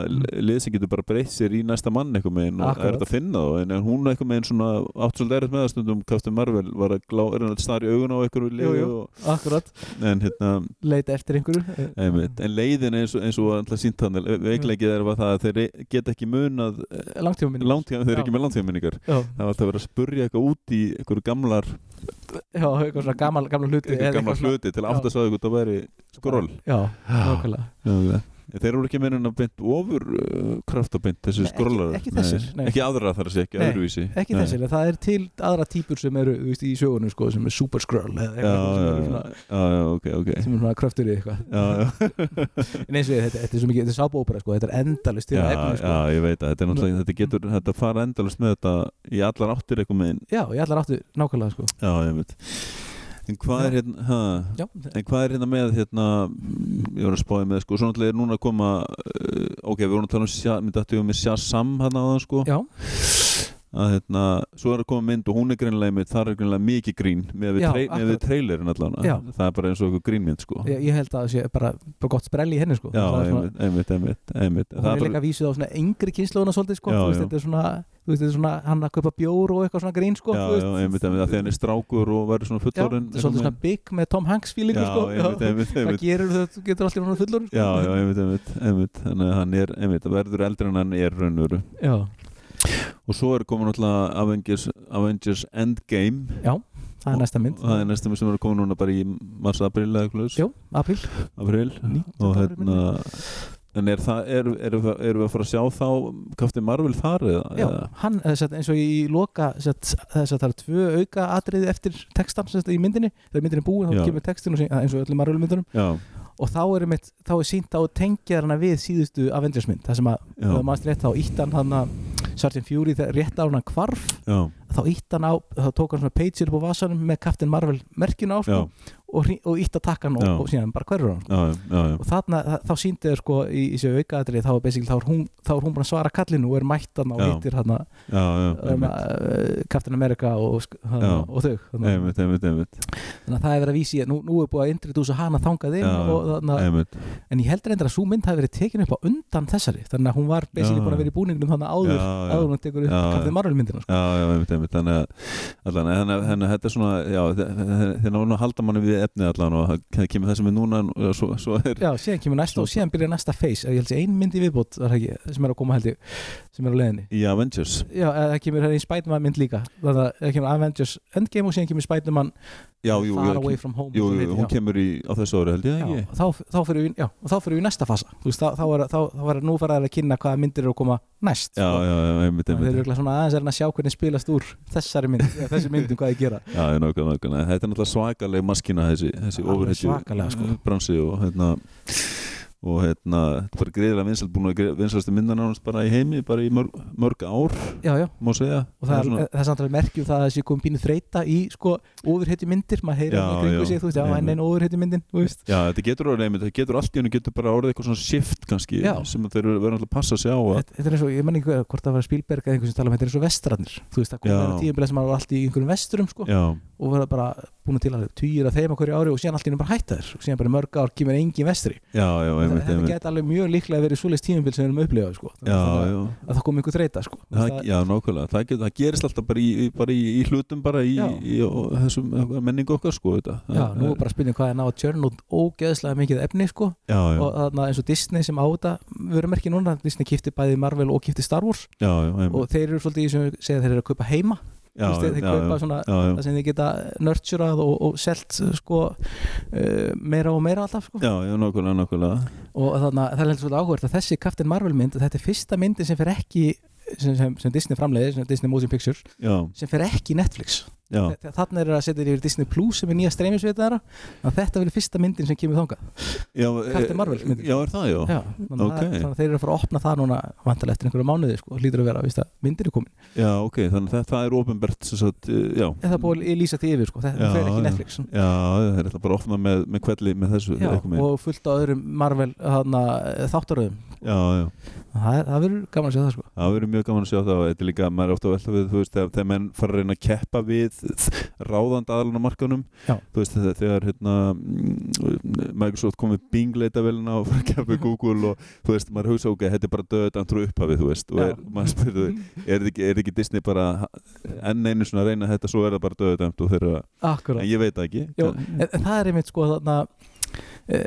A: lið sem getur bara breytt sér í næsta mann einhvern veginn og
B: Mm. Akkurat.
A: er þetta að finna þá en en hún einhvern veginn svona átt svolítið erfitt með það stundum Captain Marvel var að glá, er hann að stara í augun á einhverju
B: Jú,
A: lið
B: jú.
A: og,
B: akkurat,
A: en hérna
B: leita eftir einhverju eh,
A: einmitt, en leiðin eins og, eins og alltaf sínt hann veiklegið er var það að þeir get ekki munað eh,
B: langtíma minni
A: langtíma, þeir
B: Já.
A: er ekki með langtímaminningar
B: já,
A: það var alltaf verið að spurja eitthvað út í einhverju gamlar,
B: já, eitthvað svona gamal, gamla hluti
A: einhverju
B: eða
A: gamlar
B: eitthvað svona-
A: hluti til að átt að sagði eitthvað það væri
B: Sko,
A: skról
B: já, nákvæmlega
A: En þeir eru ekki meinin að beint ofur uh, kraftabeint þessi
B: Nei, ekki-
A: skrólar
B: ekki þessir, nei.
A: Ekki aðra þar að segja, ekki
B: Nei,
A: öðruvísi
B: ekki
A: Nei.
B: þessir, en það er til aðra típur sem eru þú veist, í sögunum sko, sem er super skrull
A: Já,
B: eða eitthvað
A: já,
B: sem eru
A: já,
B: svona
A: já, já, ok, ok
B: sem er svona kröftur í eitthvað
A: Já,
B: [laughs]
A: já,
B: en eins og ég, þetta, þetta er svo mikið, þetta er sábópera sko, þetta er endalist til
A: já,
B: að efni
A: já,
B: sko.
A: ég veit að þetta er náttúrulega þetta getur, þetta fara endalist með þetta í allar áttir eitthvað megin
B: já, ég ætlar áttu nákvæmlega sko.
A: Já, ég veit En hvað er hérna, ha,
B: já,
A: en hvað er hérna með hérna, mm, ég var að spáði með sko, svo náttúrulega er núna að koma uh, ok, við vorum að tala um, Sha- mér dættu við með Shazam hérna á það sko
B: já,
A: að hérna, svo er að koma mynd og hún er greinlega með, þar er greinlega mikið grín með við,
B: Já,
A: trei, með við
B: akkurat.
A: trailerin allan
B: Já.
A: það er bara eins og eitthvað grínmynd sko
B: ég, ég held að það sé bara, bara gott sprell í henni sko.
A: já,
B: Það er svona-
A: einmitt, einmitt, einmitt, einmitt.
B: og hún
A: Það
B: er
A: er
B: líka
A: bara,
B: vísuð á svona yngri kynnslóðuna svolítið sko,
A: Já,
B: þú veist,
A: já.
B: þetta er svona þú veist, þetta er svona hann að kaupa bjór og eitthvað svona grín sko,
A: já,
B: þú
A: já,
B: veist,
A: einmitt, einmitt, að því hann er strákur og verður svona
B: já,
A: fullorinn
B: þetta er svolítið svona big með Tom Hanks feeling
A: já,
B: sko,
A: einmitt, einmitt,
B: það
A: einmitt
B: gerur þau, þú getur allir svona fullur sko.
A: já, já, einmitt, einmitt, einmitt þannig að hann er, einmitt, að verður eldri en hann er raunveru
B: já,
A: og svo er komin alltaf Avengers, Avengers Endgame
B: já, það er næsta mynd
A: og það er næstum sem er að koma núna bara í mars, april eða eitthvað laus.
B: Jú, apríl,
A: april
B: 19.
A: og
B: apríl,
A: hérna
B: minni.
A: en er það, er, er, er, erum við að fara að sjá þá Captain Marvel þar eða?
B: Já,
A: eða?
B: hann, eh, satt, eins og í loka satt, þess að það eru tvö auka atriði eftir textan satt, í myndinni, þegar myndin er búin
A: Já.
B: þá kemur textin og sín, eins og öllum margulmyndunum
A: já,
B: og þá er, mitt, þá er sínt á tengjarna við síðustu Avengersmynd, það sem að
A: já,
B: og maður rétt þá ítt hann hann að Sartin Fury þegar rétt á hann hvarf
A: já,
B: þá ítt hann á, þá tók hann svona page upp á vasanum með Captain Marvel merkinu á sko,
A: já,
B: og, hring- og ítt að taka hann og,
A: Já.
B: og síðan bara hverfur hann sko.
A: já, já, já,
B: og þarna, þa- þá síndi þau sko í, í sér aukaðatrið þá, er basically- þá er hún þá er hún bara að svara kallinu og er mætt hann og
A: Já.
B: hittir hann að
A: já, já,
B: um,
A: einmitt,
B: uh, Captain America og, sk- hana,
A: Já.
B: og þau þannig að-
A: einmitt, einmitt, einmitt,
B: þannig að það er verið að vísi nú, nú er búið að introdúsa hana þangað inn
A: Já, já.
B: og, þarna,
A: einmitt,
B: en ég heldur endur að svo mynd hafi verið tekin upp á undan þessari þannig að hún var basically
A: Já,
B: búin að
A: já.
B: vera í búningnum þannig áður
A: Já, já.
B: áður hún tekur upp
A: Já, já.
B: Captain Marvel myndina sko.
A: já, já, einmitt, einmitt, þannig að, allan, en þannig að- þannig að þetta er svona, já, þeir náðum að halda manni við efnið allan og það kemur það sem er núna, og svo, svo er,
B: Já, síðan kemur næsta og síðan byrjar næsta face ég held að sé ein mynd í viðbót er það ekki, sem er að koma held ég sem er á leiðinni
A: í Avengers,
B: Já, eða það kemur hérna í Spiderman mynd líka þannig að það kemur Avengers Endgame og síðan kemur Spiderman
A: já, jú,
B: Far
A: jú,
B: Away From Home
A: jú,
B: sem
A: jú,
B: heitir,
A: hún
B: já.
A: kemur í, á þessu ári held ég,
B: Já,
A: ekki?
B: þá, þá fyrir við, já, og þá fyrir við í næsta fasa Þú veist, þá, þá, er, þá, þá er nú fara þær að kynna hvaða myndir eru að koma næst
A: Já,
B: sko.
A: já, já, einmitt,
B: Þannig að Þeir
A: einmitt,
B: eru örugglega svona aðeins er að sjá hvernig spilast úr þessari mynd, eða þessi myndum hvað þið
A: [laughs]
B: gera
A: Já, já, nákvæmlega, nákvæmlega. Þetta er náttúrulega svakaleg maskina þessi, þessi
B: Alveg
A: overhættu
B: svakalega, sko.
A: bransi og hérna og hérna, þetta var greiðilega vinsalt búin að vinsalstu myndan ánast bara í heimi bara í mörg, mörg ár,
B: Já, já,
A: má segja
B: og það er, það er samt alveg merkjum það að þessi komin bínu þreita í sko ofurheiti myndir, maður heyrir
A: Já,
B: hann í kringu
A: já.
B: sig, þú veist, já,
A: Einmitt.
B: henni einu ofurheiti myndin, þú veist
A: Já, þetta getur orðið einmitt, þetta getur allt í hennu getur bara orðið eitthvað svona shift kannski
B: Já.
A: sem að þeir verður náttúrulega að passa sig á að,
B: Þetta þetta er eins og, ég menn ekki hvað, hvort það var Spielberg eða einhver sem tala um, þetta er eins og vestrarnir þú veist, það
A: Já.
B: komið tíðinbilega sem maður var allt í einhverjum vesturum sko,
A: Já,
B: og verða bara búin til að týra þeim á hverju ári og síðan allt í einu bara hætta þér og síðan bara í mörg ár kemur engin vestri
A: já, já, einmitt,
B: þetta
A: einmitt
B: geta alveg mjög líklega verið svoleiðs tíðinbil sem við erum upplifað sko.
A: Já,
B: að,
A: já
B: að það kom einhver þreita sko. Þú
A: Það,
B: veist,
A: já, nákvæmlega, það, get, það gerist alltaf bara í, í, bara í, í hlutum bara í,
B: Já.
A: í, og þessum menningu okkar sko þetta
B: að- já, nú er bara að spynja hvað er náða tjörn og ógeðslega mikið efni sko.
A: já, já,
B: og þarna eins og Disney sem á þetta verum ekki núna, Disney kipti bæði Marvel og kipti Star Wars
A: já, já, einmitt.
B: og þeir eru svolítið í sem við segja að þeir eru að kaupa heima
A: já,
B: Þú veist, þeir
A: já,
B: kaupa
A: já,
B: svona-
A: já, já,
B: það sem þeir geta nurturað og, og selt sko, uh, meira og meira alltaf sko.
A: já, já, nákvæmlega, nákvæmlega
B: og þannig að það er heldur svolítið áhugavert að þessi Captain Marvel mynd, þetta er fyrsta myndin sem fer ekki sem, sem, sem Disney framleiðir, sem Disney Motion Pictures
A: já,
B: sem fer ekki í Netflix
A: já,
B: þannig er það að setja þér yfir Disney Plus sem er nýja streymisveita þeirra að þetta verður fyrsta myndin sem kemur þangað
A: já eh,
B: Captain Marvel myndir.
A: já, er það, já, já,
B: Já, þannig, að
A: ok.
B: það- þannig að þeir eru að fara að opna það núna vantarlega eftir einhverju mánuði sko, hlýtur að vera víst að myndin er komin
A: ok, þannig að það, það er ofinbert sem sagt, eh, já
B: en það er búið að lýsa því yfir sko, þetta
A: Já,
B: fer ekki í
A: já.
B: Netflix
A: já, það er alltaf bara ofna með, með kvelli með þessu,
B: Já,
A: einhvern veginn.
B: og fullt á öðrum Marvel hana, þáttaröðum
A: já, já,
B: það, er- það verður gaman að sjá það sko
A: það verður mjög gaman að sjá það og þetta er líka, maður er ofta að velta við þú veist, þegar, þegar menn fara að reyna að keppa við ráðand aðalana markanum
B: Já.
A: þú veist, þegar, þegar hérna mm, Microsoft kom við Bing leitavélina og fara að keppa við Google og þú veist, maður hugsa, ok, þetta er bara döð andru upphafið, þú veist, og
B: Já.
A: er, maður spyrðu er þetta ekki, er ekki Disney bara enn einu svona að reyna þetta, svo er það bara döðdæmt og þeirra, en
B: Akkurat,
A: ég veit það ekki
B: Jó, en, en það er einmitt sko þarna e,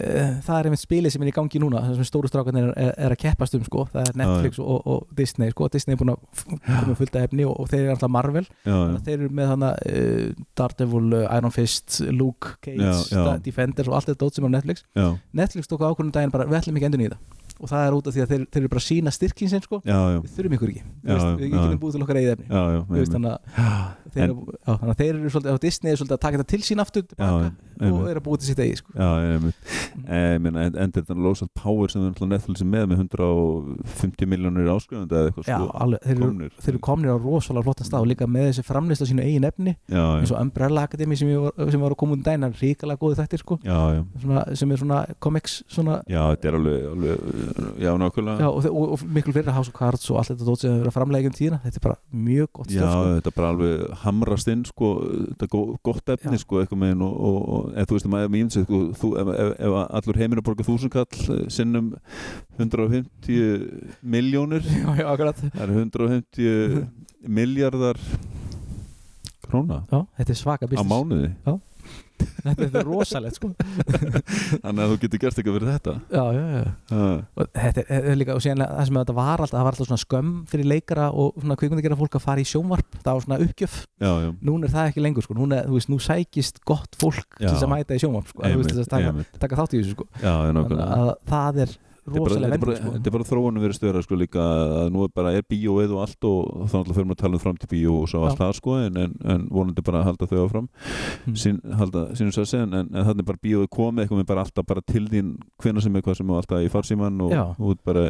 B: það er einmitt spilið sem er í gangi núna það sem stóru strákarnir er, er að keppast um sko það er Netflix og, og Disney sko Disney er búin að f- koma með fullt af efni og, og þeir eru alltaf Marvel
A: já, já,
B: Þannig að þeir eru með hana uh, Daredevil, uh, Iron Fist, Luke Cage,
A: Já, já.
B: Sta- Defenders og allt þetta dót sem er á Netflix
A: já,
B: Netflix tók ákvörðum daginn bara, við ætlum ekki endur nýða og það er út af því að þeir, þeir eru bara að sína styrkin sinn sko,
A: já, já,
B: við þurfum ykkur ekki
A: Já,
B: já, veist,
A: já,
B: við
A: já.
B: getum búið til okkar eigið efni
A: já, já,
B: Þú
A: einmitt.
B: veist, þannig að þeir,
A: En-
B: eru, já, þannig að þeir eru svolítið á Disney er svolítið að taka þetta til sín aftur
A: já,
B: tilbaka, og
A: einmitt.
B: eru að búið til sitt eigið sko.
A: Já, einmitt. Eh, ég meina, en- en þetta er losað power sem er Netflix er með með 150 miljónir áskrifandi eða eitthvað
B: já,
A: sko
B: alveg, þeir eru,
A: komnir.
B: þeir eru komnir á rosalega flottan stað og líka með þessi framlist á sínu eigin efni
A: já,
B: eins
A: já,
B: og Umbrella Academy sem, ég var, sem var að koma út um daginn, hann er ríkalega góði þættir sko,
A: já, já,
B: svona, sem er svona comics svona
A: já, þetta er alveg, alveg já, nákvæmlega
B: Já, og, þe- og, og miklu fyrir House of Cards og allt þetta dót sem hefur verið að framlega um tíðina þetta er bara mjög gott
A: Já,
B: stöf sko.
A: þetta bara alveg hamrast inn sko, þetta er gó- gott efni
B: Já.
A: sko, eitthvað megin og, og, og eða, þú veist maður mýn sér, sko, þú, ef, ef, ef allur heiminn að borga þúsunkall eh, sinnum 150 miljónir
B: [laughs] já, já, akkurat
A: það er 150 miljardar króna
B: Já, þetta er svaka
A: á
B: business
A: mánuði
B: Þetta þetta er rosalegt sko
A: þannig að þú getur gert eitthvað fyrir þetta
B: Já, já, já
A: Ha,
B: Og þetta er, þetta er líka, og síðan það sem þetta var alltaf það var alltaf svona skömm fyrir leikara og svona kvikmyndagera fólk að fara í sjónvarp það var svona uppgjöf,
A: já, já,
B: núna er það ekki lengur sko núna, þú veist, nú sækist gott fólk
A: Já.
B: til þess að mæta í sjónvarp sko, að, þú veist,
A: einmitt,
B: þess að taka,
A: einmitt.
B: taka þátt í þessu sko
A: já, já,
B: Þannig
A: nákvæmlega
B: að það er
A: þetta er
B: rosalega
A: bara,
B: vending sko.
A: þetta er bara þróunum verið stöðra sko líka að nú er bara er bíóið og allt og þá náttúrulega fyrir maður að tala um fram til bíó og svo allt
B: Já.
A: það sko en, en, en vonandi bara að halda þau áfram
B: Mm.
A: Sín, halda, sínum sér að segja en, en þannig er bara bíóið komið eitthvað með bara alltaf bara til þín hvena sem er hvað sem er alltaf í farsíman og
B: Já.
A: út bara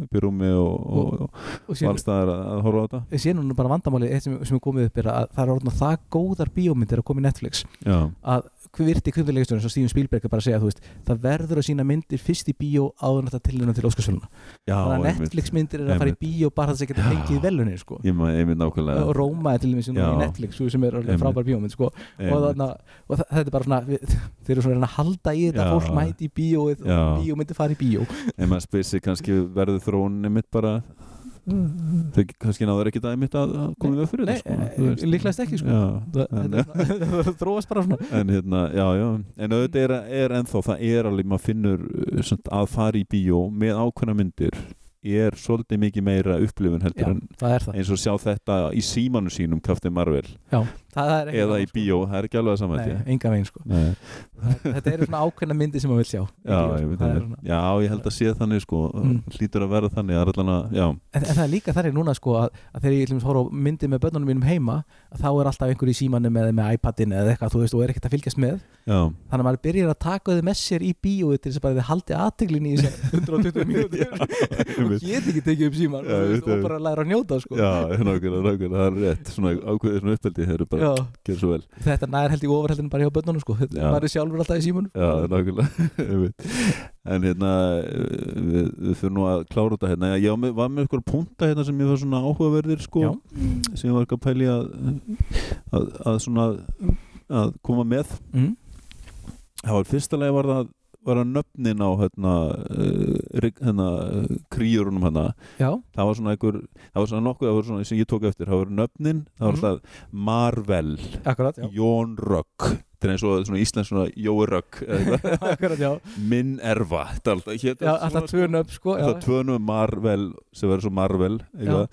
A: upp í rúmi og, og, og,
B: og
A: og
B: síðan
A: allstaðar að, að horfa á þetta
B: ég sé núna bara vandamáli eitt sem, sem er komið upp er að það er orðin það góðar bíómyndir að koma í Netflix
A: Já,
B: að hver virti kvimdilegisturinn svo Steven Spielberg er bara að segja þú veist, það verður að sína myndir fyrst í bíó áður en þetta tilhörnum til Óskarsvöluna
A: já
B: þannig að
A: einmitt.
B: Netflix myndir er að fara í bíó bara þess að geta
A: Já.
B: fengið velunni sko.
A: Ég maður einmitt nákvæmlega
B: og Róma er til dæmis núna
A: Já.
B: í Netflix svo sem er orðin
A: Einmitt.
B: frábær bíómynd sko. og,
A: Einmitt.
B: þarna, og þa- þetta er bara svona við, þeir eru svona að reyna að halda í þetta
A: Já.
B: fólk mæti í bíóið
A: Já.
B: og bíómyndir fara í bíó
A: en maður spyrir sig kannski verður þróunin mitt bara þau kannski náður ekki það mitt að að koma við fyrir
B: Nei,
A: þetta sko, þú
B: eh,
A: veist.
B: líklegast ekki sko.
A: Já,
B: það, þetta
A: en,
B: er svona- [laughs] það þróast bara svona
A: [laughs] en hérna, já, já en auðvitað er, er ennþá, það er alveg maður finnur uh, svona, að fara í bíó með ákveðna myndir er svolítið mikið meira upplifun
B: Já,
A: heldur en
B: það er það
A: eins og sjá þetta í símanu sínum Captain Marvel
B: Já, það er ekki
A: eða
B: gaman,
A: í bíó, það er ekki alveg að
B: sko.
A: samvætti
B: Nei, enga veginn
A: [laughs]
B: sko
A: Nei,
B: Þetta eru svona ákveðna myndi sem maður vil sjá í
A: já,
B: bíó,
A: ég
B: sko.
A: veit
B: Það
A: það.
B: er svona-
A: já, ég held að sé þannig sko,
B: Mm.
A: hlýtur að vera þannig það er allan að, já,
B: en, en það er líka þar er núna sko að, að þegar ég til dæmis horf á myndi með börnunum mínum heima að þá er alltaf einhver í símanum eða með iPadin eða eitthvað, þú veist, og er ekkert að fylgjast með
A: já
B: þannig að maður byrjar að taka þau með sér í bíóið til þess að bara þið haldi aðteglinni í
A: [laughs]
B: þessar 120 mínútur og
A: einmitt.
B: get ekki tekið upp síman
A: Já,
B: og,
A: ég veit
B: og
A: það.
B: bara læra að njóta sko
A: Já, nákvæmlega, nákvæmlega, það er rétt svona ákveðið svona uppeldi, þeir eru bara,
B: Já,
A: gerð svo vel
B: þetta nær held ég ofurheldin bara hjá börnunum sko Þetta-
A: Já.
B: maður er sjálfur alltaf í símanum
A: Já, nákvæmlega [laughs] einmitt. En hérna eh, við, við fyrir nú að klára þetta hérna Ég var með- var með eitthvað punta hérna sem ég var svona áhugaverðir sko,
B: Já.
A: sem ég var ekki að pæli að, að, að svona að koma með
B: mm.
A: Það var fyrsta lagi var það var að nöfnin á hérna, uh, rig- hérna eh, kríurunum hérna
B: Já,
A: það var svona einhver, það var svona nokkuð það var svona sem ég tók eftir, það var nöfnin það var
B: Mhm.
A: alltaf Marvel
B: akkurat, já
A: Jón Rögg þetta er eins og svona íslensk svona Jói Rögg eða
B: [laughs]
A: eitthvað.
B: Akkurat, já,
A: Minn Erva þetta er alltaf, hét,
B: já alltaf tvö nöfn sko já.
A: það tvönu Marvel sem verður svo Marvel eitthvað.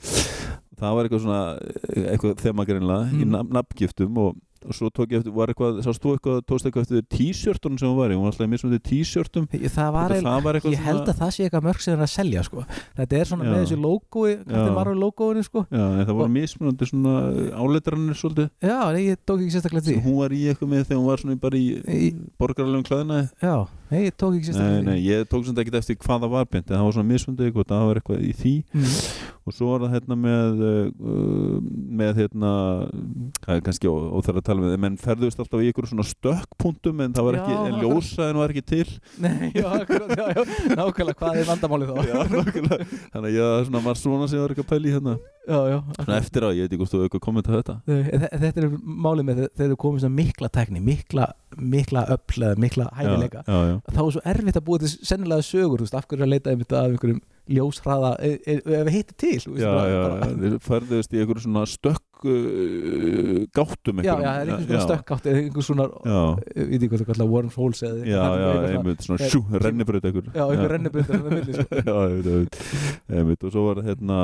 A: það var eitthvað svona eh, eitthvað þema greinlega í
B: Mm.
A: nafn- nafngiftum og, og svo tók ég eftir, var eitthvað sást þú eitthvað, tókst eitthvað eftir t-shirtunum sem hún var í hún var alltaf í mismunandi t-shirtum
B: Það var
A: Þetta-
B: einn
A: það var eitthvað
B: Ég held að það sé eitthvað mörg sem er að selja sko. Þetta er svona
A: Já.
B: með þessu logoi Þetta
A: Já.
B: er margur logoinu sko.
A: Já, en það voru
B: Og-
A: mismunandi svona áleitranir svolítið
B: Já, nei, ég tók ekki sérstaklega
A: sem
B: því
A: hún var í eitthvað með þegar hún var svona í- bara í
B: Í-
A: borgarlegum klæðina
B: Já, nei, ég tók
A: Nei,
B: ekki sérstaklega
A: nei, ég tók sem þetta ekkert eftir hvað það var beint en það var svona misfundi eitthvað, það var eitthvað í því
B: því mm.
A: og svo var það hérna með uh, með hérna það er kannski óþæra að tala með þeim en ferðust alltaf í ykkur svona stökkpuntum en það var
B: Já,
A: ekki, en
B: akkurat.
A: ljósaðin var ekki
B: [laughs]
A: til
B: Nei, já, akkurat, já, já, nákvæmlega hvað er vandamálið þá
A: Já, nákvæmlega. þannig að ég svona var svona sem ég var ekki að pæli hérna
B: já, já
A: svona eftir á, ég veit ekki hvort þú hefur eitthvað komment á þetta
B: Nei, þe- Þetta er málið með þe- þegar þú komið svona mikla tækni, mikla, mikla öll eða mikla hæfileika
A: Já, já, já,
B: þá er svo erfitt að búa til sennilega sögur þú veist, af hverju er að leita einmitt að einhverjum ljóshraða e- e- ef við hittir til þú veist,
A: já,
B: bara-
A: já,
B: bara-
A: já. Þeir ferðust í ykkur svona stökk uh, gátum
B: já,
A: einhverjum.
B: já, það er einhvers svona stökkátt eða einhvers svona, e,
A: Já,
B: ég veit ekki hvað það kallar wormholes eða
A: já,
B: eitthvað
A: já,
B: þannig, eitthvað svona-
A: einmitt svona
B: Eh,
A: sjú, rennibraut ykkur
B: já, einhver rennibreytar með milli sko.
A: [laughs] já, ég veit, ég veit. Ég veit, og svo var hérna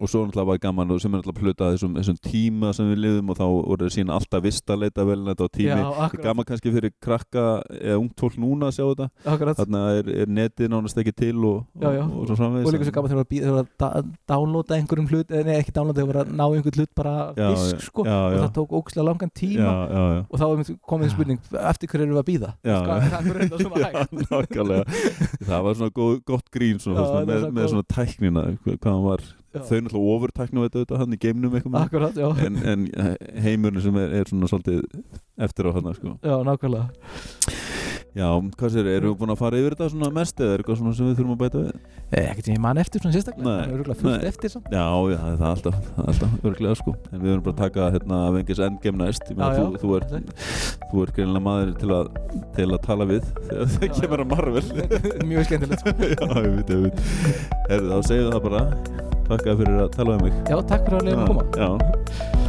A: og svo náttúrulega var gaman og sem er náttúrulega hluta af þessum, þessum tíma sem við liðum og þá voru þeir sína alltaf vist að leita vel þetta á tími
B: já,
A: já,
B: akkurat,
A: gaman kannski fyrir krakka eða ungt fólk núna að sjá þetta
B: akkurat.
A: þarna er, er netið nánast ekki til og, og,
B: Já, já.
A: og svo framvegis
B: og líka svo gaman þegar maður býð- þegar maður var að downloada einhverjum hlut eh, nei, ekki downloada, þegar maður var að ná einhvern hlut bara af
A: Já,
B: disk sko,
A: já,
B: og
A: já.
B: það tók ógslag langan tíma
A: já, já, já
B: og þá er einmitt komin spurning eftir hverju erum við að býða
A: Já, [laughs] já.
B: það er þetta svona hægt
A: Nákvæmlega. það var svona góð, gott grín svona,
B: Já,
A: svona,
B: það er
A: með,
B: svona
A: með
B: góð-
A: svona tæknina hva- hvað hann var, þau
B: Já.
A: hérna. náttúrulega ofurtæknu þetta, þetta hann í geimnum eitthvað með.
B: akkurat, já,
A: en, en eh, heimurinn sem er, er svona svolítið eftir á þarna sko.
B: já, nákvæmlega
A: Já, hvað sér, erum við búin að fara yfir þetta svona mest eða er eitthvað svona sem við þurfum að bæta við?
B: Eh, ekkert sem ég man eftir svona sérstaklega
A: Nei,
B: það er örugglega fullt
A: nei.
B: eftir samt
A: Já, já, það er það alltaf, það er alltaf örglega sko en við erum bara að taka hérna vengis endgame næst ég meina
B: Já,
A: þú,
B: já.
A: þú er, þú er greinilega maður til að, til að tala við þegar það
B: Já,
A: kemur
B: já.
A: að Marvel
B: [laughs] mjög skemmtilegt sko.
A: [laughs] Já, ég veit, ég veit Herðu, þá segjum við það bara Takk að fyrir að tala við mig
B: já, takk fyrir að leiða að koma
A: Já, já.